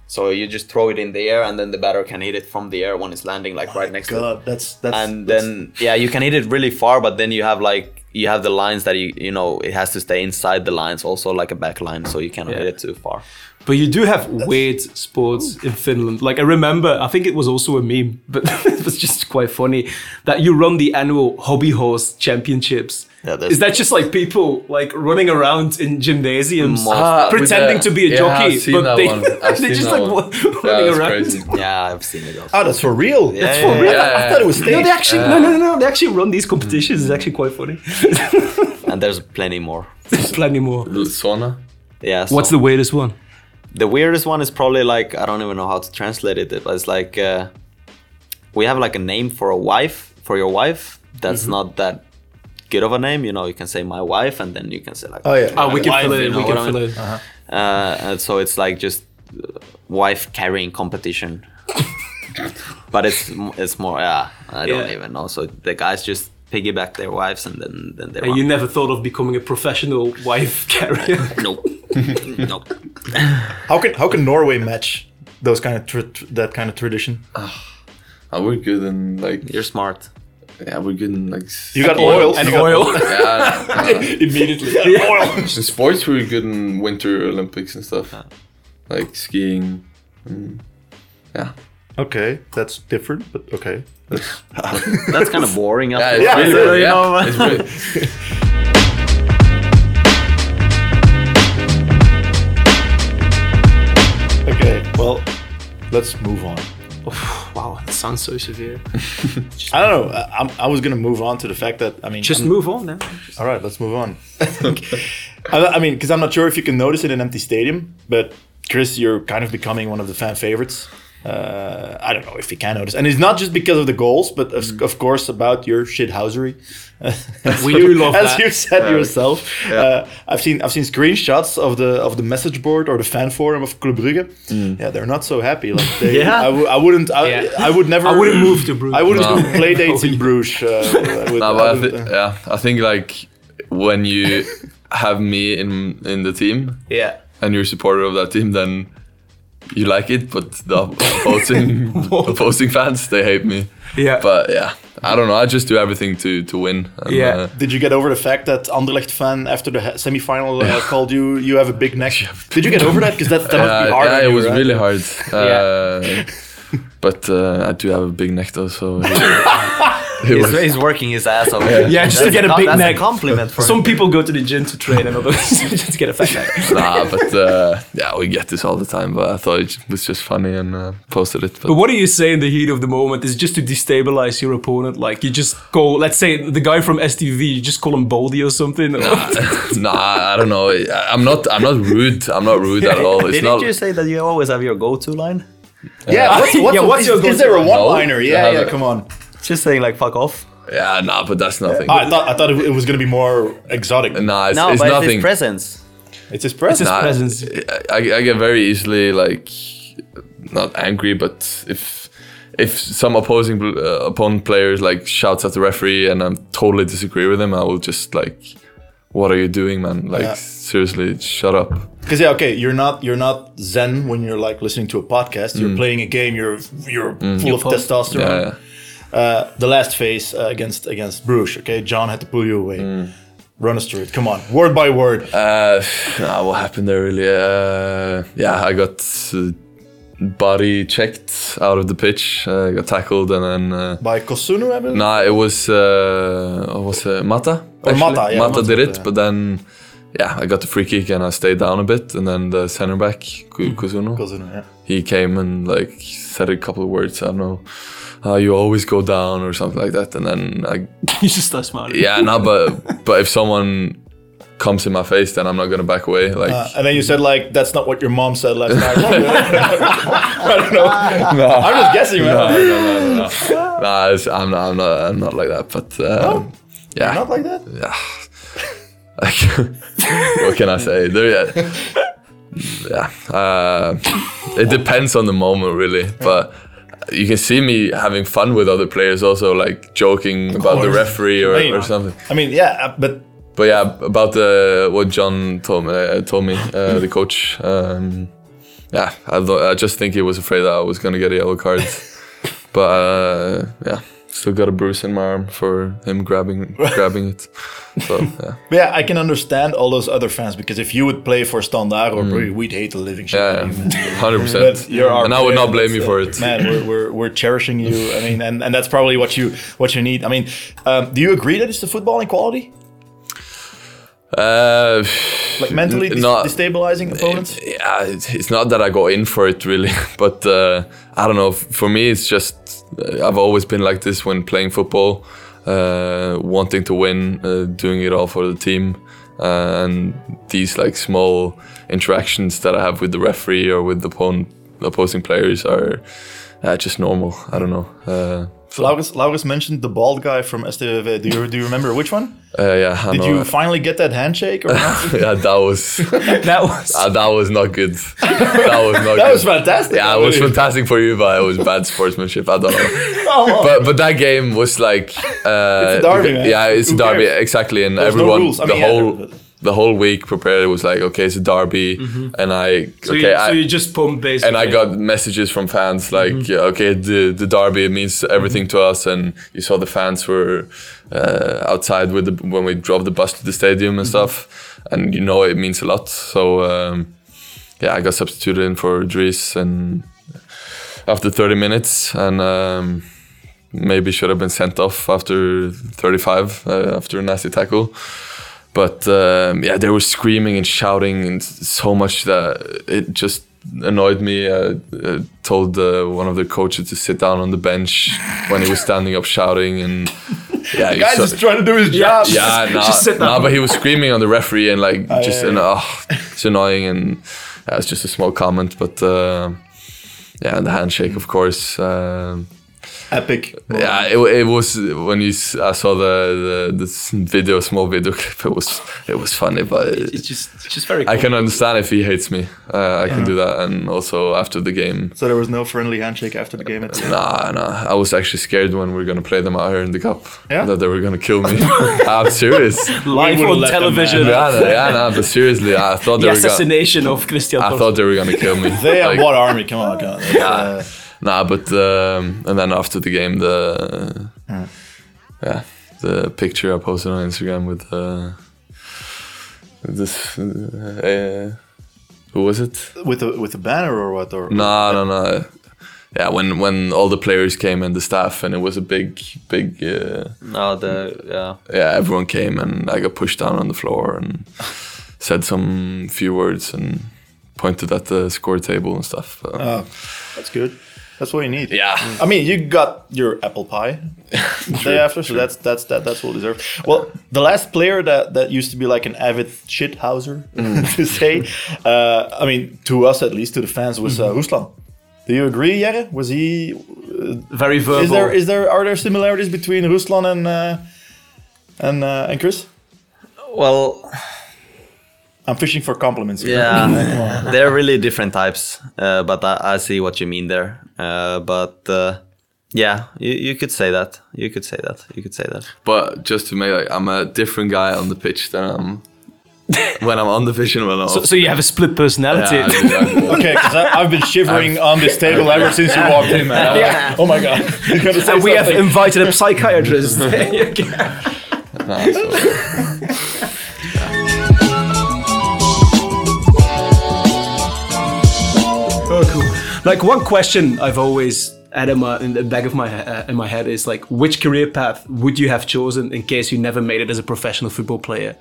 B: So you just throw it in the air, and then the batter can hit it from the air when it's landing, like right next to it.
C: God, that's that's
B: And
C: that's-
B: then yeah, you can hit it really far, but then you have like you have the lines that you you know it has to stay inside the lines, also like a back line, so you cannot hit it too far.
D: But you do have weird sports in Finland. Like I remember, I think it was also a meme, but it was just quite funny that you run the annual hobby horse championships.
B: Yeah, there's-
D: is that just like people like running around in gymnasiums
B: Most-
A: Ah, with
D: pretending
A: the-
D: to be a
A: yeah,
D: jockey,
A: I've seen
D: but
A: that
D: they
A: one. I've
D: they
A: seen
D: just
A: that
D: like
A: one.
D: running
A: Yeah, that's
D: around?
A: crazy.
B: Yeah, I've seen it. Also.
C: Oh, that's for real.
B: Yeah,
C: that's
B: yeah,
C: for real.
A: yeah,
C: I thought it was staged.
D: No, they actually no, no, no, no. They actually run these competitions. It's
A: Mm.
D: actually quite funny.
B: And there's plenty more.
D: There's plenty more.
A: Sauna.
B: Yeah.
D: What's
B: so-
D: the weirdest one?
B: the weirdest one is probably like I don't even know how to translate it, but it's like uh, we have like a name for a wife for your wife. That's not that good of a name, you know. You can say my wife, and then you can say like
C: Oh yeah.
D: we can fill it.
B: you
D: in,
B: know
D: We can
B: what I
D: fill
B: mean?
D: it.
A: Uh-huh.
D: in.
B: Uh, and so it's like just uh, wife carrying competition. but it's m- it's more yeah. I don't
D: Yeah.
B: even know. So the guys just piggyback their wives, and then then they
D: And you never thought of becoming a professional wife carrier.
B: no no.
C: How can how can Norway match those kind of tr- tr- that kind of tradition?
A: Oh, we're good in like
B: You're smart.
A: yeah, we're good in like s-
C: You got oil
D: and
C: you got
D: oil.
A: yeah.
C: immediately. Oil.
A: In sports, we're good in Winter Olympics and stuff, like skiing. Mm. Yeah,
C: Okay, that's different, but okay.
B: That's kind of boring.
A: yeah,
B: after
A: it's
C: Yeah,
A: really,
C: so,
B: you
A: yeah,
B: know,
A: it's really-
C: Okay, well, let's move on.
D: wow, that sounds so severe.
C: I don't know. I, I'm, I was gonna move on to the fact that I mean,
D: Just
C: I'm-
D: move on eh? now.
C: all right, let's move on. I, I mean, because I'm not sure if you can notice it in empty stadium, but Chris, you're kind of becoming one of the fan favorites. Uh, I don't know if you can notice, and it's not just because of the goals, but of, of course about your shithousery.
D: Mm. We do love
C: as
D: that.
C: you said yourself. Uh, I've seen I've seen screenshots of the of the message board or the fan forum of Club Brugge. Yeah, they're not so happy. Like they,
D: Mm. Yeah.
C: I, w- I wouldn't. I,
D: Yeah.
C: I would never.
D: I wouldn't move to Bruges.
C: I wouldn't
A: No.
C: do play dates in Bruges. Uh, with,
A: No,
C: I
A: but I
C: wouldn't,
A: thi-
C: uh,
A: yeah, I think like when you have me in in the team
D: Yeah.
A: and you're a supporter of that team, then you like it. But the opposing opposing fans, they hate me.
D: Yeah.
A: But yeah, I don't know. I just do everything to to win. And,
D: Yeah.
A: uh,
C: did you get over the fact that Anderlecht fan after the he- semi-final uh, called you you have a big neck? Did you get over that? Because that, that must
A: yeah,
C: be hard.
A: yeah,
C: on
A: it
C: you,
A: was
C: right?
A: really hard. Uh, but uh, I do have a big neck though, so it, it
B: He's,
A: was,
B: he's working his ass off. Yeah,
D: just to get a big
B: that's
D: neck.
B: A compliment for
D: Some
B: him.
D: people go to the gym to train, and others just get a fat guy.
A: nah. But uh, yeah, we get this all the time. But I thought it was just funny and uh, posted it.
D: But what do you say in the heat of the moment? Is just to destabilize your opponent. Like you just call, let's say the guy from STV, you just call him Baldy or something.
A: no, I I don't know. I- I'm not. I'm not rude. I'm not rude at all. It's
B: Didn't
A: not.
B: you say that you always have your go-to line?
C: Yeah, what's, what's,
D: Yeah, what's
C: is,
D: your
C: is there a
D: go-to?
C: one-liner?
A: No,
C: yeah,
A: have
C: yeah,
A: a-
C: come on.
B: Just saying like "fuck off."
A: Yeah, nah. But that's nothing.
C: Oh, I thought I thought it was gonna be more exotic.
A: Nah, it's,
B: No,
A: it's
B: but
A: nothing.
B: it's his presence.
C: It's his presence.
A: Nah,
D: presence.
A: Uh, I, I get very easily like not angry, but if if some opposing uh, opponent players like shouts at the referee and I'm totally disagree with him, I will just like, what are you doing, man? Like
C: Yeah.
A: seriously, shut up.
C: Because yeah, okay, you're not you're not zen when you're like listening to a podcast. You're playing a game. You're you're full of
A: Mm. Yeah,
C: testosterone.
A: yeah.
C: uh, The last phase uh, against against Bruges. Okay, John had to pull you away. Run us through it. Come on, word by word.
A: Mm. Uh, nah, what happened there really? Uh, yeah, I got uh, body checked out of the pitch. Uh, got tackled and then. Uh,
C: by Kosunu, I believe.
A: nah, it was uh, what was it Mata?
C: Or Oh, Mata, yeah,
A: Mata,
C: Mata,
A: did it,
C: yeah.
A: but then yeah, I got the free kick and I stayed down a bit, and then the center back
C: Mm-hmm.
A: Ku- Kuzuno,
C: Kozunu, yeah.
A: he came and like said a couple of words. I don't know. Uh, you always go down or something like that, and then I
D: You just start smiling.
A: yeah, no, but but if someone comes in my face, then I'm not gonna back away. Like,
C: Uh, and then you said like, that's not what your mom said last night. I don't know. I'm just guessing, man.
A: no, no, no, no. Nah, it's- I'm not, I'm not, I'm not like that. But
C: Oh.
A: um, yeah,
C: Not like that.
A: yeah. Like, what can I say? There, yeah, yeah. Uh, it depends on the moment, really. But you can see me having fun with other players, also like joking about the
C: course.
A: referee or,
C: I mean,
A: or something.
C: I mean, yeah, uh, but
A: But yeah, about the what John told me, uh, told me uh, the coach. Um, yeah, I, th- I just think he was afraid that I was gonna get a yellow card. but uh, yeah, still got a bruise in my arm for him grabbing grabbing it. So yeah,
C: But yeah, I can understand all those other fans because if you would play for Standard or Brugge, we'd hate the living shit out
A: Mm. yeah,
C: of you, man.
A: hundred
C: But
A: percent.
C: you're our
A: And I would
C: player,
A: not blame you
C: that's,
A: for
C: uh,
A: it.
C: Man, we're, we're, we're cherishing you. I mean, and, and that's probably what you what you need. I mean, um, do you agree that it's the footballing quality?
A: Uh,
C: Like mentally dis-
A: not- eh,
C: destabilizing opponents?
A: yeah, it's, it's not that I go in for it really, but uh, I don't know. f- For me, it's just uh, I've always been like this when playing football, uh, wanting to win, uh, doing it all for the team, uh, and these like small interactions that I have with the referee or with the opponent, opposing players are uh, just normal. I don't know. Uh,
C: Laurens, Laurens mentioned the bald guy from STVV. Do you, do you remember which one?
A: uh, yeah, I
C: Did
A: know.
C: you finally get that handshake or not?
A: yeah, that was
G: That was.
A: uh, that was not good. That was not.
C: That
A: good.
C: was fantastic.
A: Yeah, it was
C: actually.
A: fantastic for you, but it was bad sportsmanship. I don't know.
C: Come on.
A: But but that game was like uh,
C: It's a derby, Oh, man.
A: Yeah, it's
C: Who
A: a derby
C: cares?
A: exactly, and
C: There's no
A: everyone
C: rules. I
A: the
C: mean, yeah,
A: whole
C: but-
A: the whole week prepared was like okay, it's a derby,
C: Mm-hmm.
A: and I
G: So,
A: okay,
G: you,
A: I,
G: so you just pumped basically.
A: and I got messages from fans like, yeah, okay, the the derby means everything to us, and you saw the fans were uh, outside with the when we drove the bus to the stadium and stuff, and you know it means a lot. So um, yeah, I got substituted in for Dries, and after 30 minutes, and um, maybe should have been sent off after 35 uh, after a nasty tackle but um, yeah, they were screaming and shouting and s- so much that it just annoyed me. Uh, uh, told uh, one of the coaches to sit down on the bench when he was standing up shouting and yeah, you
C: Guys
A: saw-
C: is trying to do his job.
A: yeah, nah,
G: sit
A: nah,
G: down.
A: but he was screaming on the referee and like just
C: yeah,
A: and oh, it's annoying and yeah, it's just a small comment, but. Uh, yeah, and the handshake, of course. Um,
C: Epic.
A: yeah, it, it was when you s- I saw the, the this video, small video clip. It was it was funny, but it-
G: It's just, it's just very.
A: I
G: Cool.
A: can understand if he hates me. Uh, I can do that, and also after the game,
C: So there was no friendly handshake after the game. It's,
A: nah, nah. I was actually scared when we were gonna play them out here in the cup
C: Yeah?
A: that they were gonna kill me. I'm serious. yeah,
G: Live
C: would've
G: on
C: left them,
G: television.
C: man.
A: nah, yeah, nah, but seriously, I thought
G: The
A: they were gonna.
G: assassination of Christian
A: I
G: Torres.
A: thought they were gonna kill me.
C: They are
A: Like,
C: what army? Come on, come on. That's, uh,
A: Nah, but um, and then after the game, the
C: uh,
A: yeah, the picture I posted on Instagram with uh, this uh, who was it?
C: with a with a banner or what? Or
A: No, no, no. Yeah, when when all the players came and the staff, and it was a big, big. Uh,
B: No, the yeah.
A: yeah, everyone came, and I got pushed down on the floor and said some few words and pointed at the score table and stuff. But,
C: that's good. That's what you need. Mm.
A: yeah,
C: I mean, you got your apple pie the day after, so that's that's that that's well deserved. Well, the last player that that used to be like an avid shithouser to say, uh, I mean, to us at least, to the fans, was uh, Ruslan. Do you agree, Jere? Was he? uh,
G: very verbal.
C: Is there is there are there similarities between Ruslan and uh, and uh, and Chris?
B: Well,
C: I'm fishing for compliments. here.
B: yeah, they're really different types. Uh, but I, I see what you mean there. Uh, but uh, yeah, you, you could say that. You could say that. You could say that.
A: but just to make like, I'm a different guy on the pitch than I'm when I'm on the pitch and when I'm
D: So, so you have a split personality.
A: yeah, exactly.
C: Okay, because I've been shivering on this table ever since you walked in, man. Yeah. Oh my god. You're gonna say
G: and we have
C: something.
G: invited a psychiatrist.
A: Nah, so-
G: Oh, Like one question I've always had in, my, in the back of my he- uh, in my head is like, which career path would you have chosen in case you never made it as a professional football player?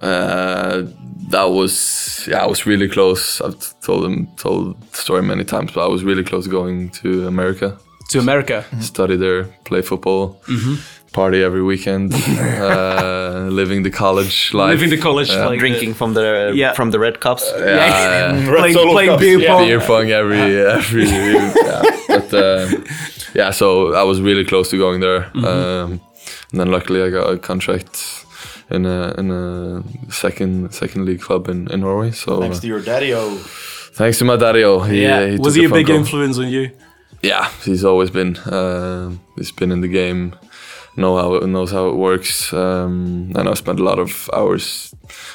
A: Uh, that was yeah, I was really close. I've t- told him told the story many times, but I was really close going to America,
G: To America.
A: study there, play football,
G: Mm-hmm.
A: party every weekend, uh, living the college uh, life,
G: Living the college, like
B: Drinking from the
G: Yeah.
B: from the red cups.
G: the-
A: Yeah,
C: Red
G: playing,
C: solo
G: playing
C: cups,
G: beer
C: yeah.
G: pong.
A: beer pong every every yeah. But uh, yeah, so I was really close to going there,
G: Mm-hmm.
A: um, and then luckily I got a contract in a in a second second league club in, in Norway. So
C: Thanks
A: uh,
C: to your oh, daddy-o.
A: Thanks to my daddy-o. He, uh, he
G: Was
A: took
G: he
A: the
G: a
A: phone
G: big
A: call.
G: influence on you?
A: Yeah, he's always been. Uh, he's been in the game, know how it, knows how it works. Um, and I spent a lot of hours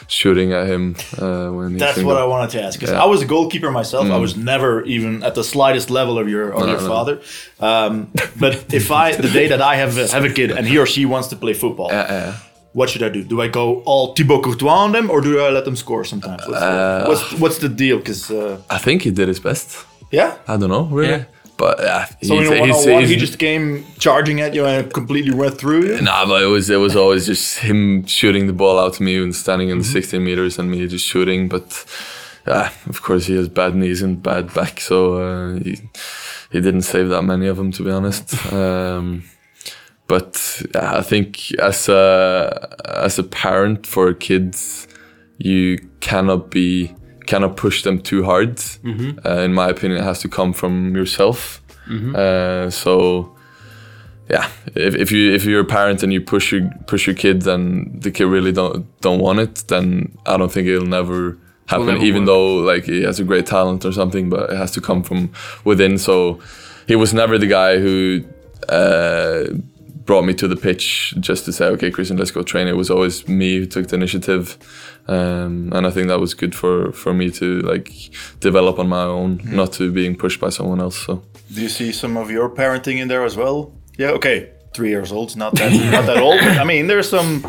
A: shooting at him uh, when he's
C: That's
A: in
C: what
A: the-
C: I wanted to ask. 'cause
A: Yeah. Mm.
C: I was a goalkeeper myself. I was never even at the slightest level of your of your
A: no.
C: father. Um, but if I the day that I have a, have a kid and he or she wants to play football,
A: Yeah, yeah.
C: what should I do? Do I go all Thibaut Courtois on them, or do I let them score sometimes? What's,
A: Uh,
C: the, what's, what's the deal? Because uh,
A: I think he did his best.
C: yeah.
A: I don't know really,
G: Yeah.
A: but yeah,
C: So
A: he's-
C: in a
A: he's-
C: one-on-one, he
A: he's-
C: just came charging at you and completely went through you.
A: Nah, but it was it was always just him shooting the ball out to me and standing in 16 meters and me just shooting. But yeah, of course he has bad knees and bad back, so uh, he he didn't save that many of them to be honest. Um, but yeah, I think as a as a parent for kids, you cannot be cannot push them too hard. Uh, in my opinion, it has to come from yourself. Uh, so yeah, if, if you if you're a parent and you push your push your kid and the kid really don't don't want it, then I don't think it'll never happen.
G: never
A: even
G: work.
A: though like he has a great talent or something, but it has to come from within. So he was never the guy who uh, brought me to the pitch just to say, okay, Christian, let's go train. It was always me who took the initiative, um, and I think that was good for for me to like develop on my own, not to being pushed by someone else. So.
C: Do you see some of your parenting in there as well? Yeah, okay, three years old, not that not that old. But I mean, there's some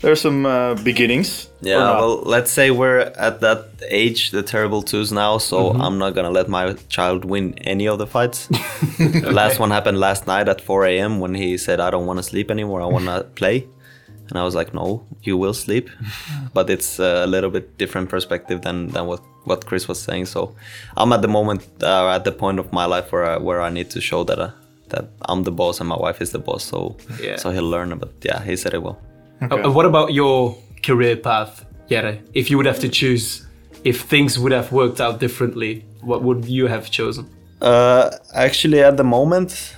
C: there's some uh, beginnings. Or
B: Yeah,
C: not.
B: well, let's say we're at that age, the terrible twos now, so
C: Mm-hmm.
B: I'm not gonna let my child win any of the fights. The last one happened last night at 4 a.m. when he said, I don't wanna sleep anymore, I wanna play. And I was like, no, you will sleep. But it's a little bit different perspective than, than what, what Chris was saying. So I'm at the moment, uh, at the point of my life where I, where I need to show that, uh, that I'm the boss and my wife is the boss. So,
G: Yeah.
B: so he'll learn. But yeah, he said it well.
G: Uh, what about your career path, Jere? If you would have to choose, if things would have worked out differently, what would you have chosen?
B: Uh, actually, at the moment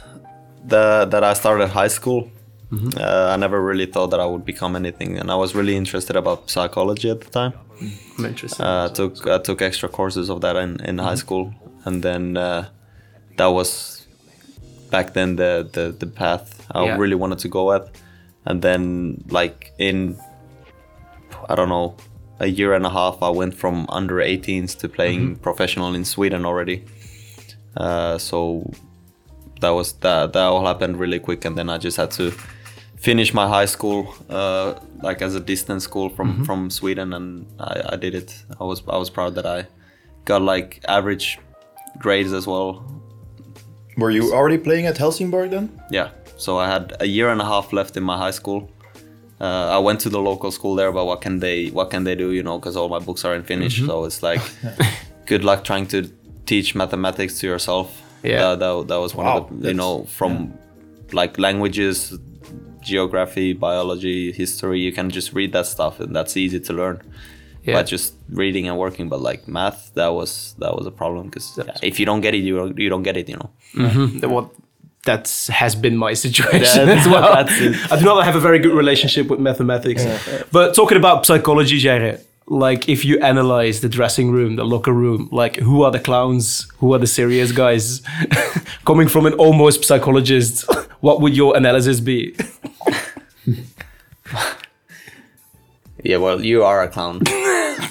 B: the, that I started high school, uh, I never really thought that I would become anything, and I was really interested about psychology at the time.
G: I'm interested.
B: Uh, I took I took extra courses of that in, in high school, and then uh, that was back then the the, the path I
G: Yeah.
B: really wanted to go at, and then like in I don't know a year and a half I went from under 18s to playing professional in Sweden already, uh, so that was that that all happened really quick, and then I just had to finish my high school uh, like as a distance school from from Sweden, and I, I did it. I was I was proud that I got like average grades as well.
C: were you already playing at Helsingborg then?
B: Yeah, so I had a year and a half left in my high school. Uh, I went to the local school there, but what can they what can they do? You know, because all my books are in Finnish, so it's like good luck trying to teach mathematics to yourself.
G: Yeah.
B: that, that, that was one
C: Wow,
B: of the you
C: that's-
B: know from like languages, geography, biology, history. You can just read that stuff, and that's easy to learn.
G: Yeah.
B: by just reading and working. But like math, that was that was a problem because if you don't get it, you don't, you don't get it. You know.
G: That what that has been my situation
B: That-
G: as well.
B: that's it.
G: I do not have a very good relationship with mathematics. But talking about psychology, Jere, like if you analyze the dressing room, the locker room, like who are the clowns, who are the serious guys? Coming from an almost psychologist, what would your analysis be?
B: Yeah, well, you are a clown,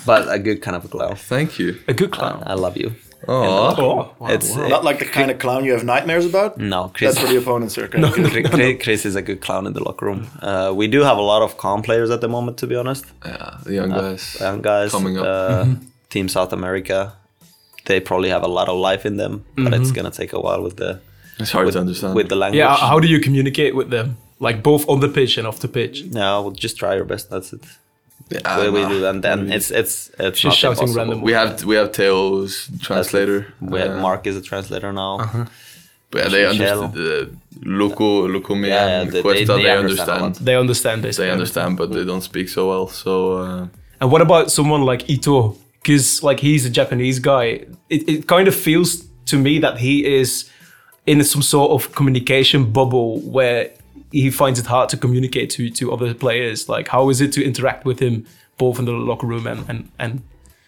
B: but a good kind of a clown.
A: Thank you.
G: A good clown.
B: I love you.
A: Aw.
G: Oh,
B: it's
C: Not like the kind of clown you have nightmares about.
B: no, Chris.
C: That's for the opponents are. No.
B: Chris- Chris, Chris is a good clown in the locker room. Uh, we do have a lot of calm players at the moment, to be honest.
A: Yeah, the Uh, young guys.
B: Uh, Young guys,
D: Mm-hmm.
A: Coming up.
B: Uh, Team South America, they probably have a lot of life in them, but it's gonna take a while with the
A: It's hard
B: with,
A: to understand.
B: with the language.
D: Mm-hmm. Yeah, how do you communicate with them? Like both on the pitch and off the pitch.
B: no, we'll just try your best. That's it.
A: Yeah,
B: we, we
A: Ah, nah. Mm.
B: do that, and then it's it's it's
D: Just
B: not
D: shouting
B: impossible.
D: random
A: We have we have Teo's translator.
B: We have
A: uh,
B: Mark is a translator now.
D: Uh-huh.
A: But yeah, they
B: Michelle.
A: understand. Uh, Luco, Luco, me,
B: Yeah,
A: and
B: they- they-
A: Cuesta,
B: they
A: they
B: understand a
A: understand.
D: They understand this.
A: They understand, but they don't speak so well. So uh,
D: And what about someone like Ito? Because like he's a Japanese guy. It, it kind of feels to me that he is in some sort of communication bubble where he finds it hard to communicate to to other players. Like how is it to interact with him both in the locker room and and, and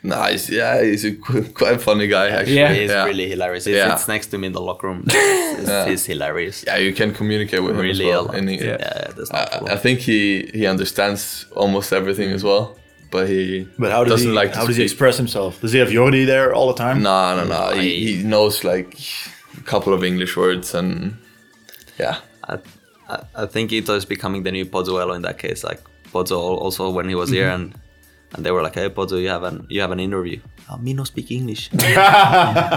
A: nah, he's, yeah, he's a qu- quite a funny guy actually.
D: Yeah.
B: He is
A: yeah.
B: really hilarious. It's,
A: Yeah.
B: it's next to me in the locker room. It's, He's hilarious.
A: Yeah, Uh, you can communicate with him as
B: Really a
A: well.
B: lot.
A: And he-
B: Yeah, that's not
A: I,
B: cool.
A: I think he he understands almost everything as well, but he
C: But how does
A: doesn't
C: he
A: like to
C: how does he
A: speak.
C: express himself? Does he have Jordi there all the time?
A: No, no, no. He, he knows like a couple of English words and yeah.
B: I, I, I think Ito is becoming the new Pozzuelo in that case. Like Pozzo al- also when he was here and and they were like, "Hey Pozzo, you have an you have an interview." Oh, me no speak English.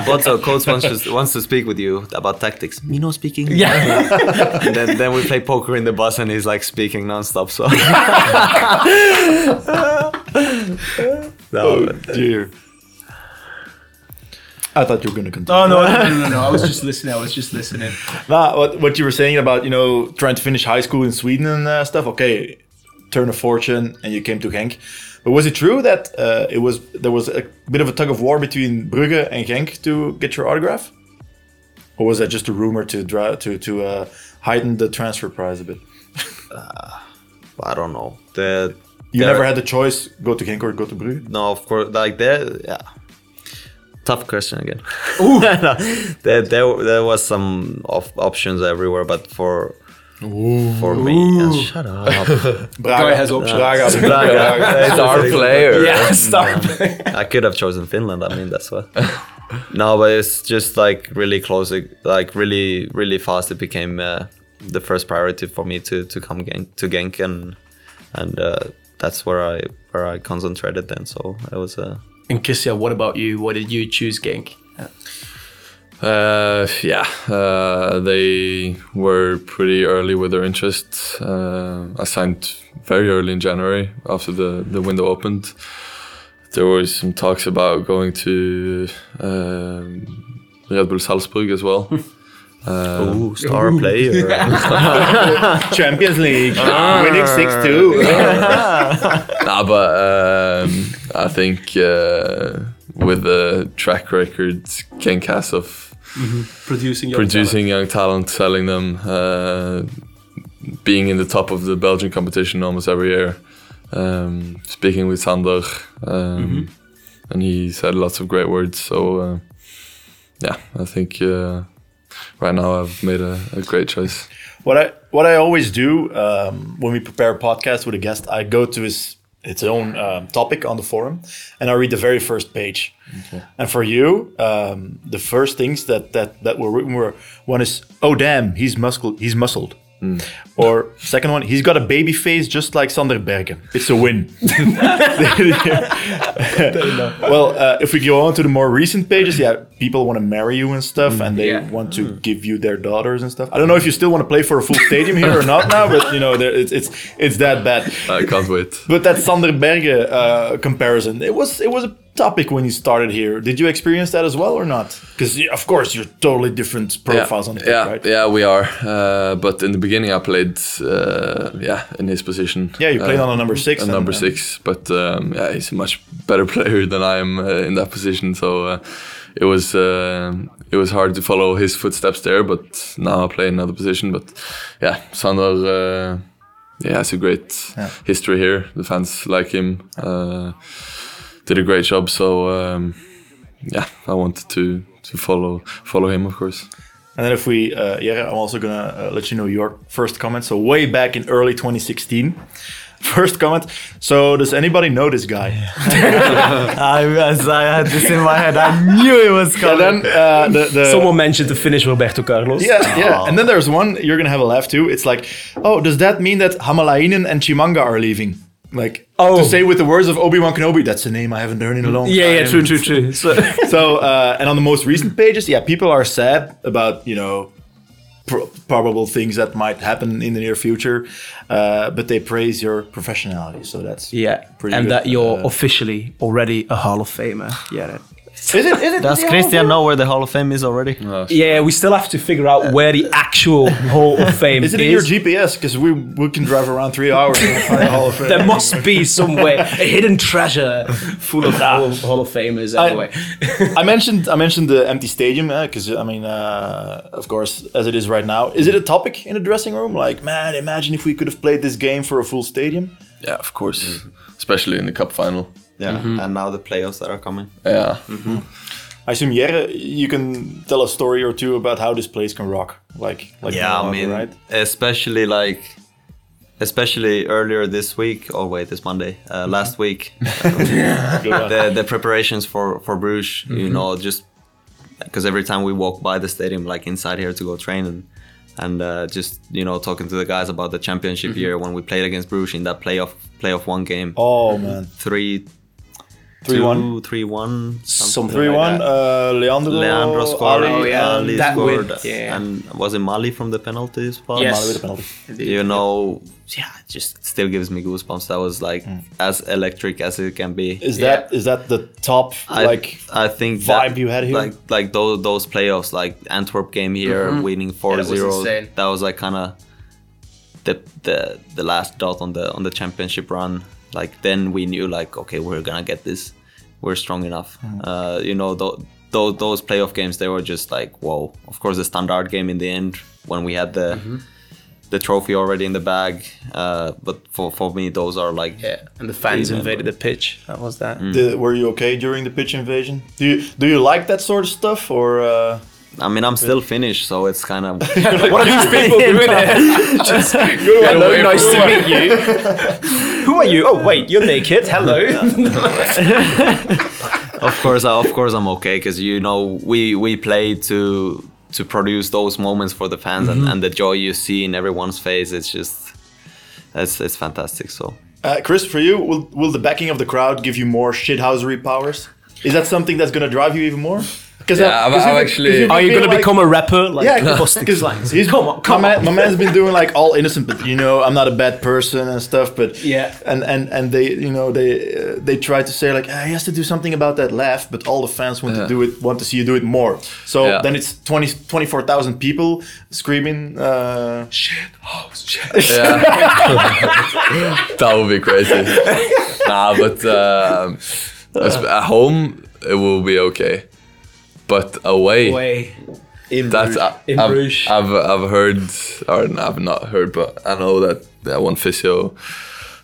B: Pozzo, coach wants to wants to speak with you about tactics. Me no speak English.
D: yeah.
B: And then then we play poker in the bus and he's like speaking nonstop. So. no, but-
C: Dear. I thought you were going to continue.
D: oh no, no no no no! I was just listening. I was just listening.
C: Nah, what, what you were saying about, you know, trying to finish high school in Sweden and uh, stuff, okay, turn a fortune and you came to Genk. But was it true that uh, it was there was a bit of a tug of war between Brugge and Genk to get your autograph? Or was that just a rumor to dra- to to uh, heighten the transfer price a bit?
B: I don't know. The
C: You
B: there-
C: never had the choice go to Genk or go to Brugge?
B: No, of course, like there, yeah. Tough question again. No, there, there, there was some of options everywhere, but for for me, yeah, shut up.
C: Braga
D: has options.
C: Braga.
B: Braga.
A: Star player.
D: Yeah, stop.
B: I could have chosen Finland. I mean, that's what. No, but it's just like really close, like really, really fast. It became uh, the first priority for me to to come Genk, to Genk, and and uh, that's where I where I concentrated then. So it was a. Uh,
D: And Kissia, what about you? Why did you choose Genk?
A: Uh, yeah, uh, they were pretty early with their interest. Uh, I signed very early in January after the, the window opened. There was some talks about going to um Red Bull Salzburg as well.
B: Ooh, star player.
C: Champions League. Winning 6-2.
A: nah, but um, I think uh, with the track record Ken Cass of
D: Producing your
A: Mm-hmm. producing young talent, selling them, uh, being in the top of the Belgian competition almost every year. Um, speaking with Sander, um, and he said lots of great words. So uh, yeah, I think uh, right now I've made a, a great choice.
C: What I what I always do um, when we prepare a podcast with a guest, I go to his its own um, topic on the forum, and I read the very first page. And for you, um, the first things that that that were written were one is oh damn he's muscled he's muscled, or second one he's got a baby face just like Sander Bergen. It's a win. well, uh, if we go on to the more recent pages, yeah, people want to marry you and stuff,
A: Mm.
C: and they want to give you their daughters and stuff. I don't know if you still want to play for a full stadium here or not now, but you know, there, it's it's it's that bad.
A: I can't wait.
C: But that Sander Berge uh, comparison, it was it was a topic when you started here. Did you experience that as well or not? Because of course you're totally different profiles on the pitch,
A: yeah,
C: right?
A: yeah, we are. Uh, but in the beginning, I played, uh, yeah, in his position. Uh,
C: Yeah, you played on a number six
A: a
C: and-
A: number
C: and-
A: six, but um, yeah, he's a much better player than I am uh, in that position. So uh, it was uh, it was hard to follow his footsteps there. But now I play another position. But yeah, Sander, uh, yeah, has a great history here. The fans like him. Uh, did a great job. So um, yeah, I wanted to to follow follow him, of course.
C: And then if we, uh, yeah, I'm also gonna uh, let you know your first comment. So way back in early 2016, first comment. So does anybody know this guy?
B: I, as I had this in my head. I knew it was
C: And
B: coming.
C: then uh, the, the
G: Someone mentioned the Finnish Roberto Carlos.
C: Yeah, yeah. And then there's one you're gonna have a laugh too. It's like, oh, does that mean that Hamalainen and Chimanga are leaving? Like,
G: Oh.
C: to say with the words of Obi Wan Kenobi, that's a name I haven't heard in a long
G: yeah,
C: time.
G: yeah, true, true, true. So,
C: So, uh, and on the most recent pages, yeah, people are sad about, you know, pr- probable things that might happen in the near future, uh, but they praise your professionality. So that's
G: yeah,
C: pretty
G: and
C: good,
G: that you're
C: uh,
G: officially already a Hall of Famer. Yeah, that-
C: Is it? Is it
B: Does Christian know where the Hall of Fame is already?
G: yeah. We still have to figure out where the actual Hall of Fame
C: Is it in your GPS? Because we we can drive around three hours and find the Hall of Fame.
G: There must be somewhere a hidden treasure full of Hall, Hall of Famers. Anyway,
C: I mentioned I mentioned the empty stadium because I mean, uh, of course, as it is right now, is it a topic in the dressing room? Like, man, imagine if we could have played this game for a full stadium.
A: Yeah, of course. Especially in the cup final.
B: Yeah. And now the playoffs that are coming.
A: Yeah.
C: I assume Jere, you can tell a story or two about how this place can rock. Like, like
B: Yeah,
C: no
B: I
C: other,
B: mean,
C: right?
B: especially like, especially earlier this week. Oh wait, this Monday, uh,
C: Mm-hmm.
B: last week, the the preparations for for Bruges.
C: Mm-hmm.
B: You know, just because every time we walk by the stadium, like inside here to go train and. And uh, just you know, talking to the guys about the championship year when we played against Bruges in that playoff playoff one game,
C: Mm-hmm. Oh man,
B: three
C: three one,
B: two, three one, something
C: three
B: like
C: one.
B: that.
C: Uh, Leandro,
B: Leandro scored.
C: Ali, uh,
B: Ali
G: that
B: scored.
G: win, yeah.
B: And was it Mali from the penalty spot?
G: Yes.
C: Mali with a penalty.
B: You know, Mm. yeah, it just still gives me goosebumps. That was like as electric as it can be.
C: Is that is that the top
B: I,
C: like
B: I think
C: vibe
B: that-
C: you had here?
B: like like those those playoffs, like Antwerp game here,
G: Mm-hmm.
B: winning 4-0.
G: insane.
B: that was like kind of the the the last dot on the on the championship run. Like then we knew like okay, we're gonna get this. We're strong enough.
C: Mm.
B: Uh, you know, th- those playoff games they were just like whoa. Of course, the standard game in the end when we had the.
G: Mm-hmm.
B: The trophy already in the bag, uh, but for, for me those are like
G: yeah, and the fans
B: Amen.
G: invaded the pitch. That was that.
B: Hmm.
C: Did- were you okay during the pitch invasion? Do you do you like that sort of stuff or? Uh...
B: I mean I'm still Finnish, so it's kind of
C: what are these people
G: Hello, nice to meet you. Who are you? Oh, wait, you're naked. Hello.
B: of course, I, of course, I'm okay because you know we we play to to produce those moments for the fans
G: Mm-hmm.
B: and, and the joy you see in everyone's face. It's just it's it's fantastic. So
C: Uh, Chris, for you, will will the backing of the crowd give you more shithousery powers? Is that something that's gonna drive you even more? uh, Because
A: Yeah, I'm- I'm actually-
G: Are you gonna become a rapper? Like
C: yeah,
G: Busted
C: because
G: Slimes?
C: he's
G: Come on, come
C: my,
G: on.
C: man, my man's been doing like all innocent, but you know I'm not a bad person and stuff. But
G: Yeah.
C: and and and they you know they uh, they try to say like ah, he has to do something about that laugh, but all the fans want
A: Yeah.
C: to do it, want to see you do it more. So
A: Yeah.
C: then it's 20, 24,000 people screaming. Uh,
A: Yeah. that would be crazy. nah, but um, as- at home it will be okay, but away,
G: Way.
A: that's I,
G: In
A: have
G: Bruges.
A: I've I've heard or I've not heard, but I know that that one physio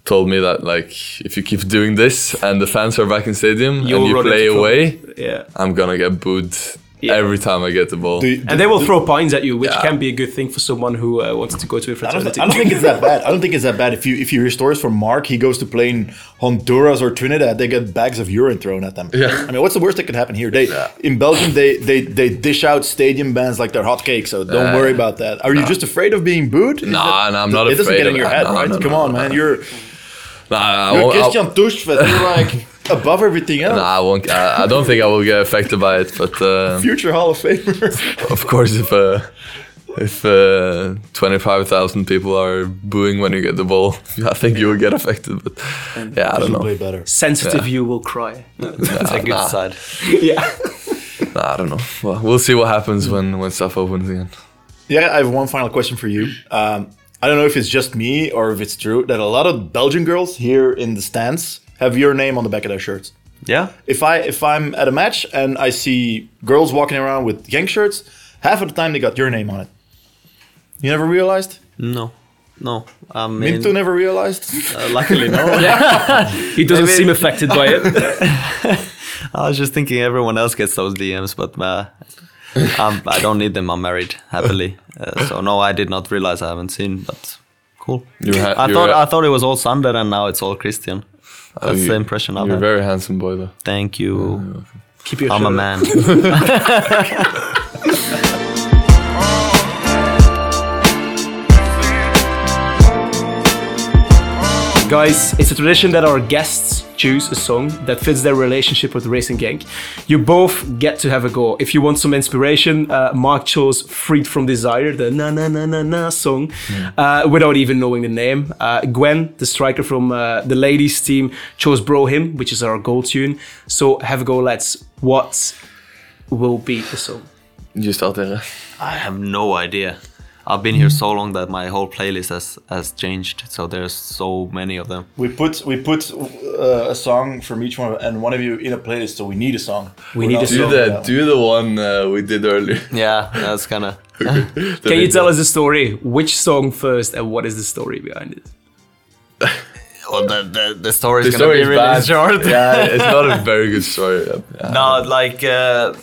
A: told me that like if you keep doing this and the fans are back in stadium
G: You'll
A: and you
G: run
A: play
G: into trouble.
A: away,
G: Yeah.
A: I'm gonna get booed
G: Yeah.
A: every time I get the ball.
C: do, you-
G: And they will throw pines at you, which
A: Yeah.
G: can be a good thing for someone who uh, wanted to go to a
C: I don't,
G: fraternity.
C: thi- I don't think it's that bad. I don't think it's that bad. If you if you hear stories from Mark, he goes to play in Honduras or Trinidad, they get bags of urine thrown at them.
A: Yeah.
C: I mean, what's the worst that could happen here? They in Belgium they they they dish out stadium bands like they're hotcakes. So don't
A: Uh,
C: worry about that. Are you just afraid of being booed? Is
A: Nah,
C: that-
A: nah, I'm not
C: it doesn't
A: afraid
C: get in
A: of
C: your
A: that.
C: head,
A: No,
C: right?
A: no,
C: Come
A: no,
C: on,
A: no,
C: man.
A: no. Oh,
C: You're
A: Nah, I
C: you're
A: won't- I'll-
C: Christian Tuschfeld. You're like above everything else.
A: Nah, I won't. I, I don't think I will get affected by it, but uh,
C: Future Hall of Famer.
A: of course, if uh, if uh, twenty five thousand people are booing when you get the ball, I think you will get affected. But yeah, I don't
C: You'll play
A: know.
C: better.
G: Sensitive you will cry.
B: it's a good side.
G: yeah.
A: Nah, I don't know. Well, we'll see what happens when when stuff opens again.
C: Yeah, I have one final question for you. Um, I don't know if it's just me or if it's true that a lot of Belgian girls here in the stands have your name on the back of their shirts.
B: Yeah,
C: If I if I'm at a match and I see girls walking around with gang shirts, half of the time they got your name on it. You never realized?
B: no, no. I mean,
C: Minto never realized.
B: uh, luckily no.
G: He doesn't seem affected by it.
B: I was just thinking everyone else gets those DMs, but uh, I'm, I don't need them. I'm married happily, uh, so no, I did not realize I haven't seen. But cool.
A: You're ha-
B: I
A: you're
B: thought
A: ha-
B: I thought it was all Sander, and now it's all Christian. That's the impression I
A: Oh, You're a
B: had.
A: very handsome boy, though.
B: Thank you.
G: Keep your
B: I'm a
G: shirt
B: man.
G: up.
D: Guys, it's a tradition that our guests choose a song that fits their relationship with Racing Gang. You both get to have a go. If you want some inspiration, uh, Mark chose Freed from Desire, the na na na na na song,
B: Hmm.
D: uh, without even knowing the name. Uh, Gwen, the striker from uh, the ladies team, chose Bro Him, which is our goal tune. So have a go, lads. What will be the song?
A: Just out there.
B: I have no idea. I've been here so long that my whole playlist has has changed. So there's so many of them.
C: We put we put uh, a song from each one and one of you in a playlist, so we need a song. We
D: need a
A: Do the do the one uh, we did earlier.
B: Yeah, that's kind of.
D: Can you tell us the story? Which song first, and what is the story behind it?
B: Well, the, the, the story
A: The
B: is gonna
A: story
B: be
A: is
B: really
A: bad.
B: short.
A: Yeah, it's not a very good story. Yeah.
B: No, like, uh,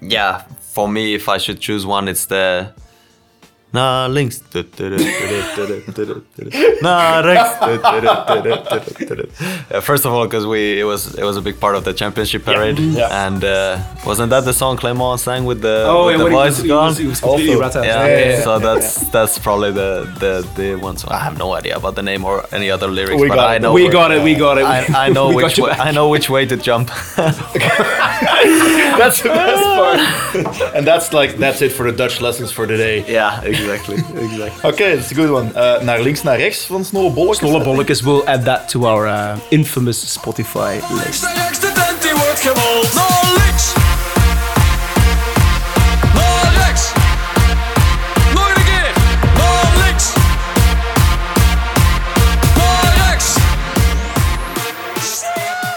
B: yeah. For me, if I should choose one, it's the Nah links. Du- du- du- du- du- du- du- du- du- du- Nah links. Du- du- du- du- du- du- du- du- Uh, First of all, because we it was it was a big part of the championship parade,
C: Yeah.
B: and uh, wasn't that the song Clement sang with the with Oh, the
D: what
B: voice gone?
D: completely
C: Also,
D: rat out.
B: yeah,
C: yeah, yeah,
B: so that's that's probably the the the one. So I have no idea about the name or any other lyrics,
C: We
B: but
C: got
B: I
C: it.
B: know
D: We got it. We got it.
B: I, I know
D: We got
B: which
D: you
B: way,
D: back.
B: I know which way to jump.
C: That's the best part. and that's like that's it for the Dutch lessons for today.
B: yeah, exactly, exactly.
C: Oké, okay, that's a good one. Eh, naar links, naar rechts van Snolle Bollekes.
D: Snolle Bollekes will add that to our uh, infamous Spotify list.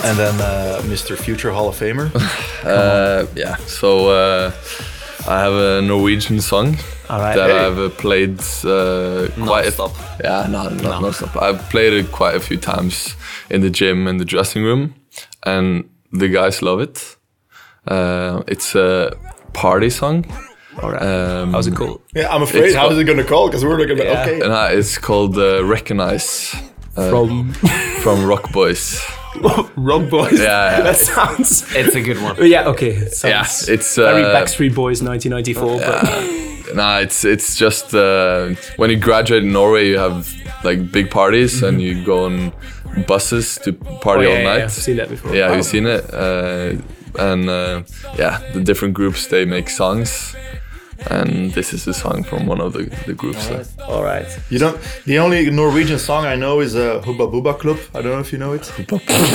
C: En dan eh, Mr. Future Hall of Famer.
A: Uh, yeah. So uh, I have a Norwegian song
D: All right.
A: that I've uh, played uh, quite.
B: Non-stop.
A: A, yeah, no, no, no. stop. I've played it quite a few times in the gym and the dressing room, and the guys love it. Uh, it's a party song.
D: All right.
A: Um,
D: How's it called?
C: yeah, I'm afraid.
A: It's
C: How
A: what-
C: is it gonna call? Because we're looking at
D: Yeah.
C: okay.
A: And uh, it's called uh, Recognize
D: From
A: from Rock Boys.
D: Rock Boys.
A: Yeah, yeah.
D: that sounds. oh,
B: It's a good one.
D: Yeah. Okay. it Sounds
A: Yeah, it's,
D: very
A: uh,
D: Backstreet Boys 1994.
A: Nah, it's it's just uh, when you graduate in Norway, you have like big parties and you go on buses to
D: But, Mm-hmm. oh,
A: party
D: yeah,
A: all
D: yeah, yeah, I've
A: night.
D: seen that before.
A: Yeah,
D: Oh.
A: you've seen it. Uh, and uh, yeah, the different groups they make songs, and this is a song from one of the, the groups. that-
D: All right.
C: You don't. The only Norwegian song I know is uh, Hubba Bubba Club. I don't know if you know it.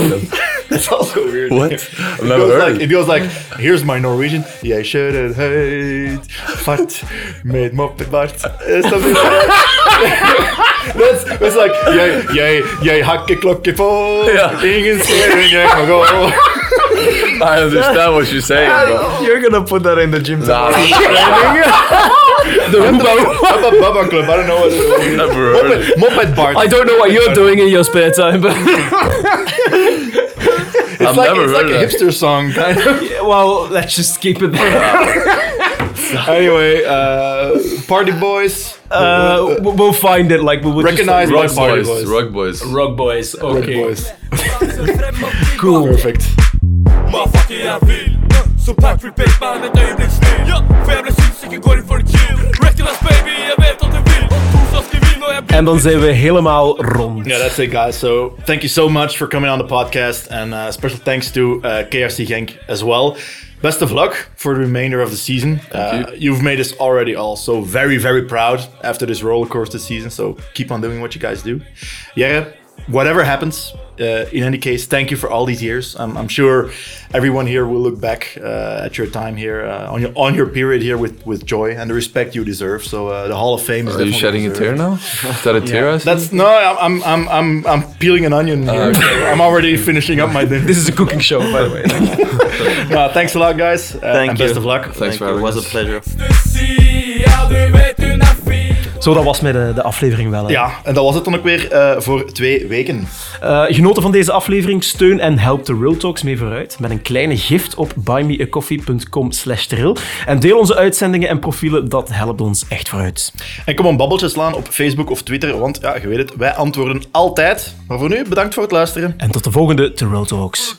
C: That's also a weird.
A: What?
C: name.
A: I've
C: It
A: never
C: goes,
A: heard.
C: like,
A: it.
C: it goes like, here's my Norwegian. Jij kjører høyt, fart med moppebart. Eh, Something like that. That's, it's like, jij, jij, jij hakker klokken på,
A: Ja.
C: ingen ser jij kan gå.
A: I understand what you're saying. But,
B: You're gonna put that in the gym.
A: nah,
C: Hubba Bubba Club, I don't know what it is.
A: never heard. it.
C: Moped, moped Bart.
D: I don't know what you're doing in your spare time, but
C: It's
A: I've
C: like,
A: never
C: it's
A: heard
C: like a
A: that.
C: hipster song. kind of.
D: well, let's just keep it there.
C: anyway, uh, Party Boys.
D: Uh, we- we'll find it. Like we will just-
C: Recognize my
A: Rock
C: Party
A: boys,
C: Boys.
A: rock boys.
D: Rock Boys. Okay.
C: Boys.
D: Cool.
C: Perfect.
E: Motherfucker, jeg er vild Så pak repeat bare med et øjeblik stil For jeg bliver sindssyg, jeg går ind for en kill Recognize baby, jeg ved at det vil Tusind skal vi, når jeg bliver
D: En dan zijn we helemaal rond.
C: Yeah, that's it, guys. So thank you so much for coming on the podcast, and uh, special thanks to uh, KRC Genk as well. Best of luck for the remainder of the season. Uh, you. have made us already all so very, very proud after this roller coaster season. So keep on doing what you guys do. Yeah, whatever happens, uh, in any case, thank you for all these years. I'm, I'm sure everyone here will look back uh, at your time here uh, on your on your period here with with joy and the respect you deserve. So uh, the Hall of Fame is
A: Are you
C: definitely
A: shedding a
C: deserved.
A: tear now? Is that a tear? I see?
C: That's no, I'm I'm I'm I'm peeling an onion
B: Ah,
C: here. I'm already finishing up my dinner.
D: This is a cooking show, by the way.
C: No, thanks a lot, guys. Uh, and
B: you.
C: Best of luck.
A: Thanks for
B: It
A: having
B: was a
A: us.
B: pleasure.
E: Sige, ja du vet hun er fin
D: Zo, dat was met eh, de, de aflevering wel. hè.
C: Ja, en dat was het dan ook weer eh, voor twee weken.
D: Eh, genoten van deze aflevering? Steun en help de Real Talks mee vooruit met een kleine gift op buymeacoffee.com slash trill. En deel onze uitzendingen en profielen, dat helpt ons echt vooruit.
C: En kom een babbeltje slaan op Facebook of Twitter, want ja, je weet het, wij antwoorden altijd. Maar voor nu, bedankt voor het luisteren.
D: En tot de volgende The Real Talks.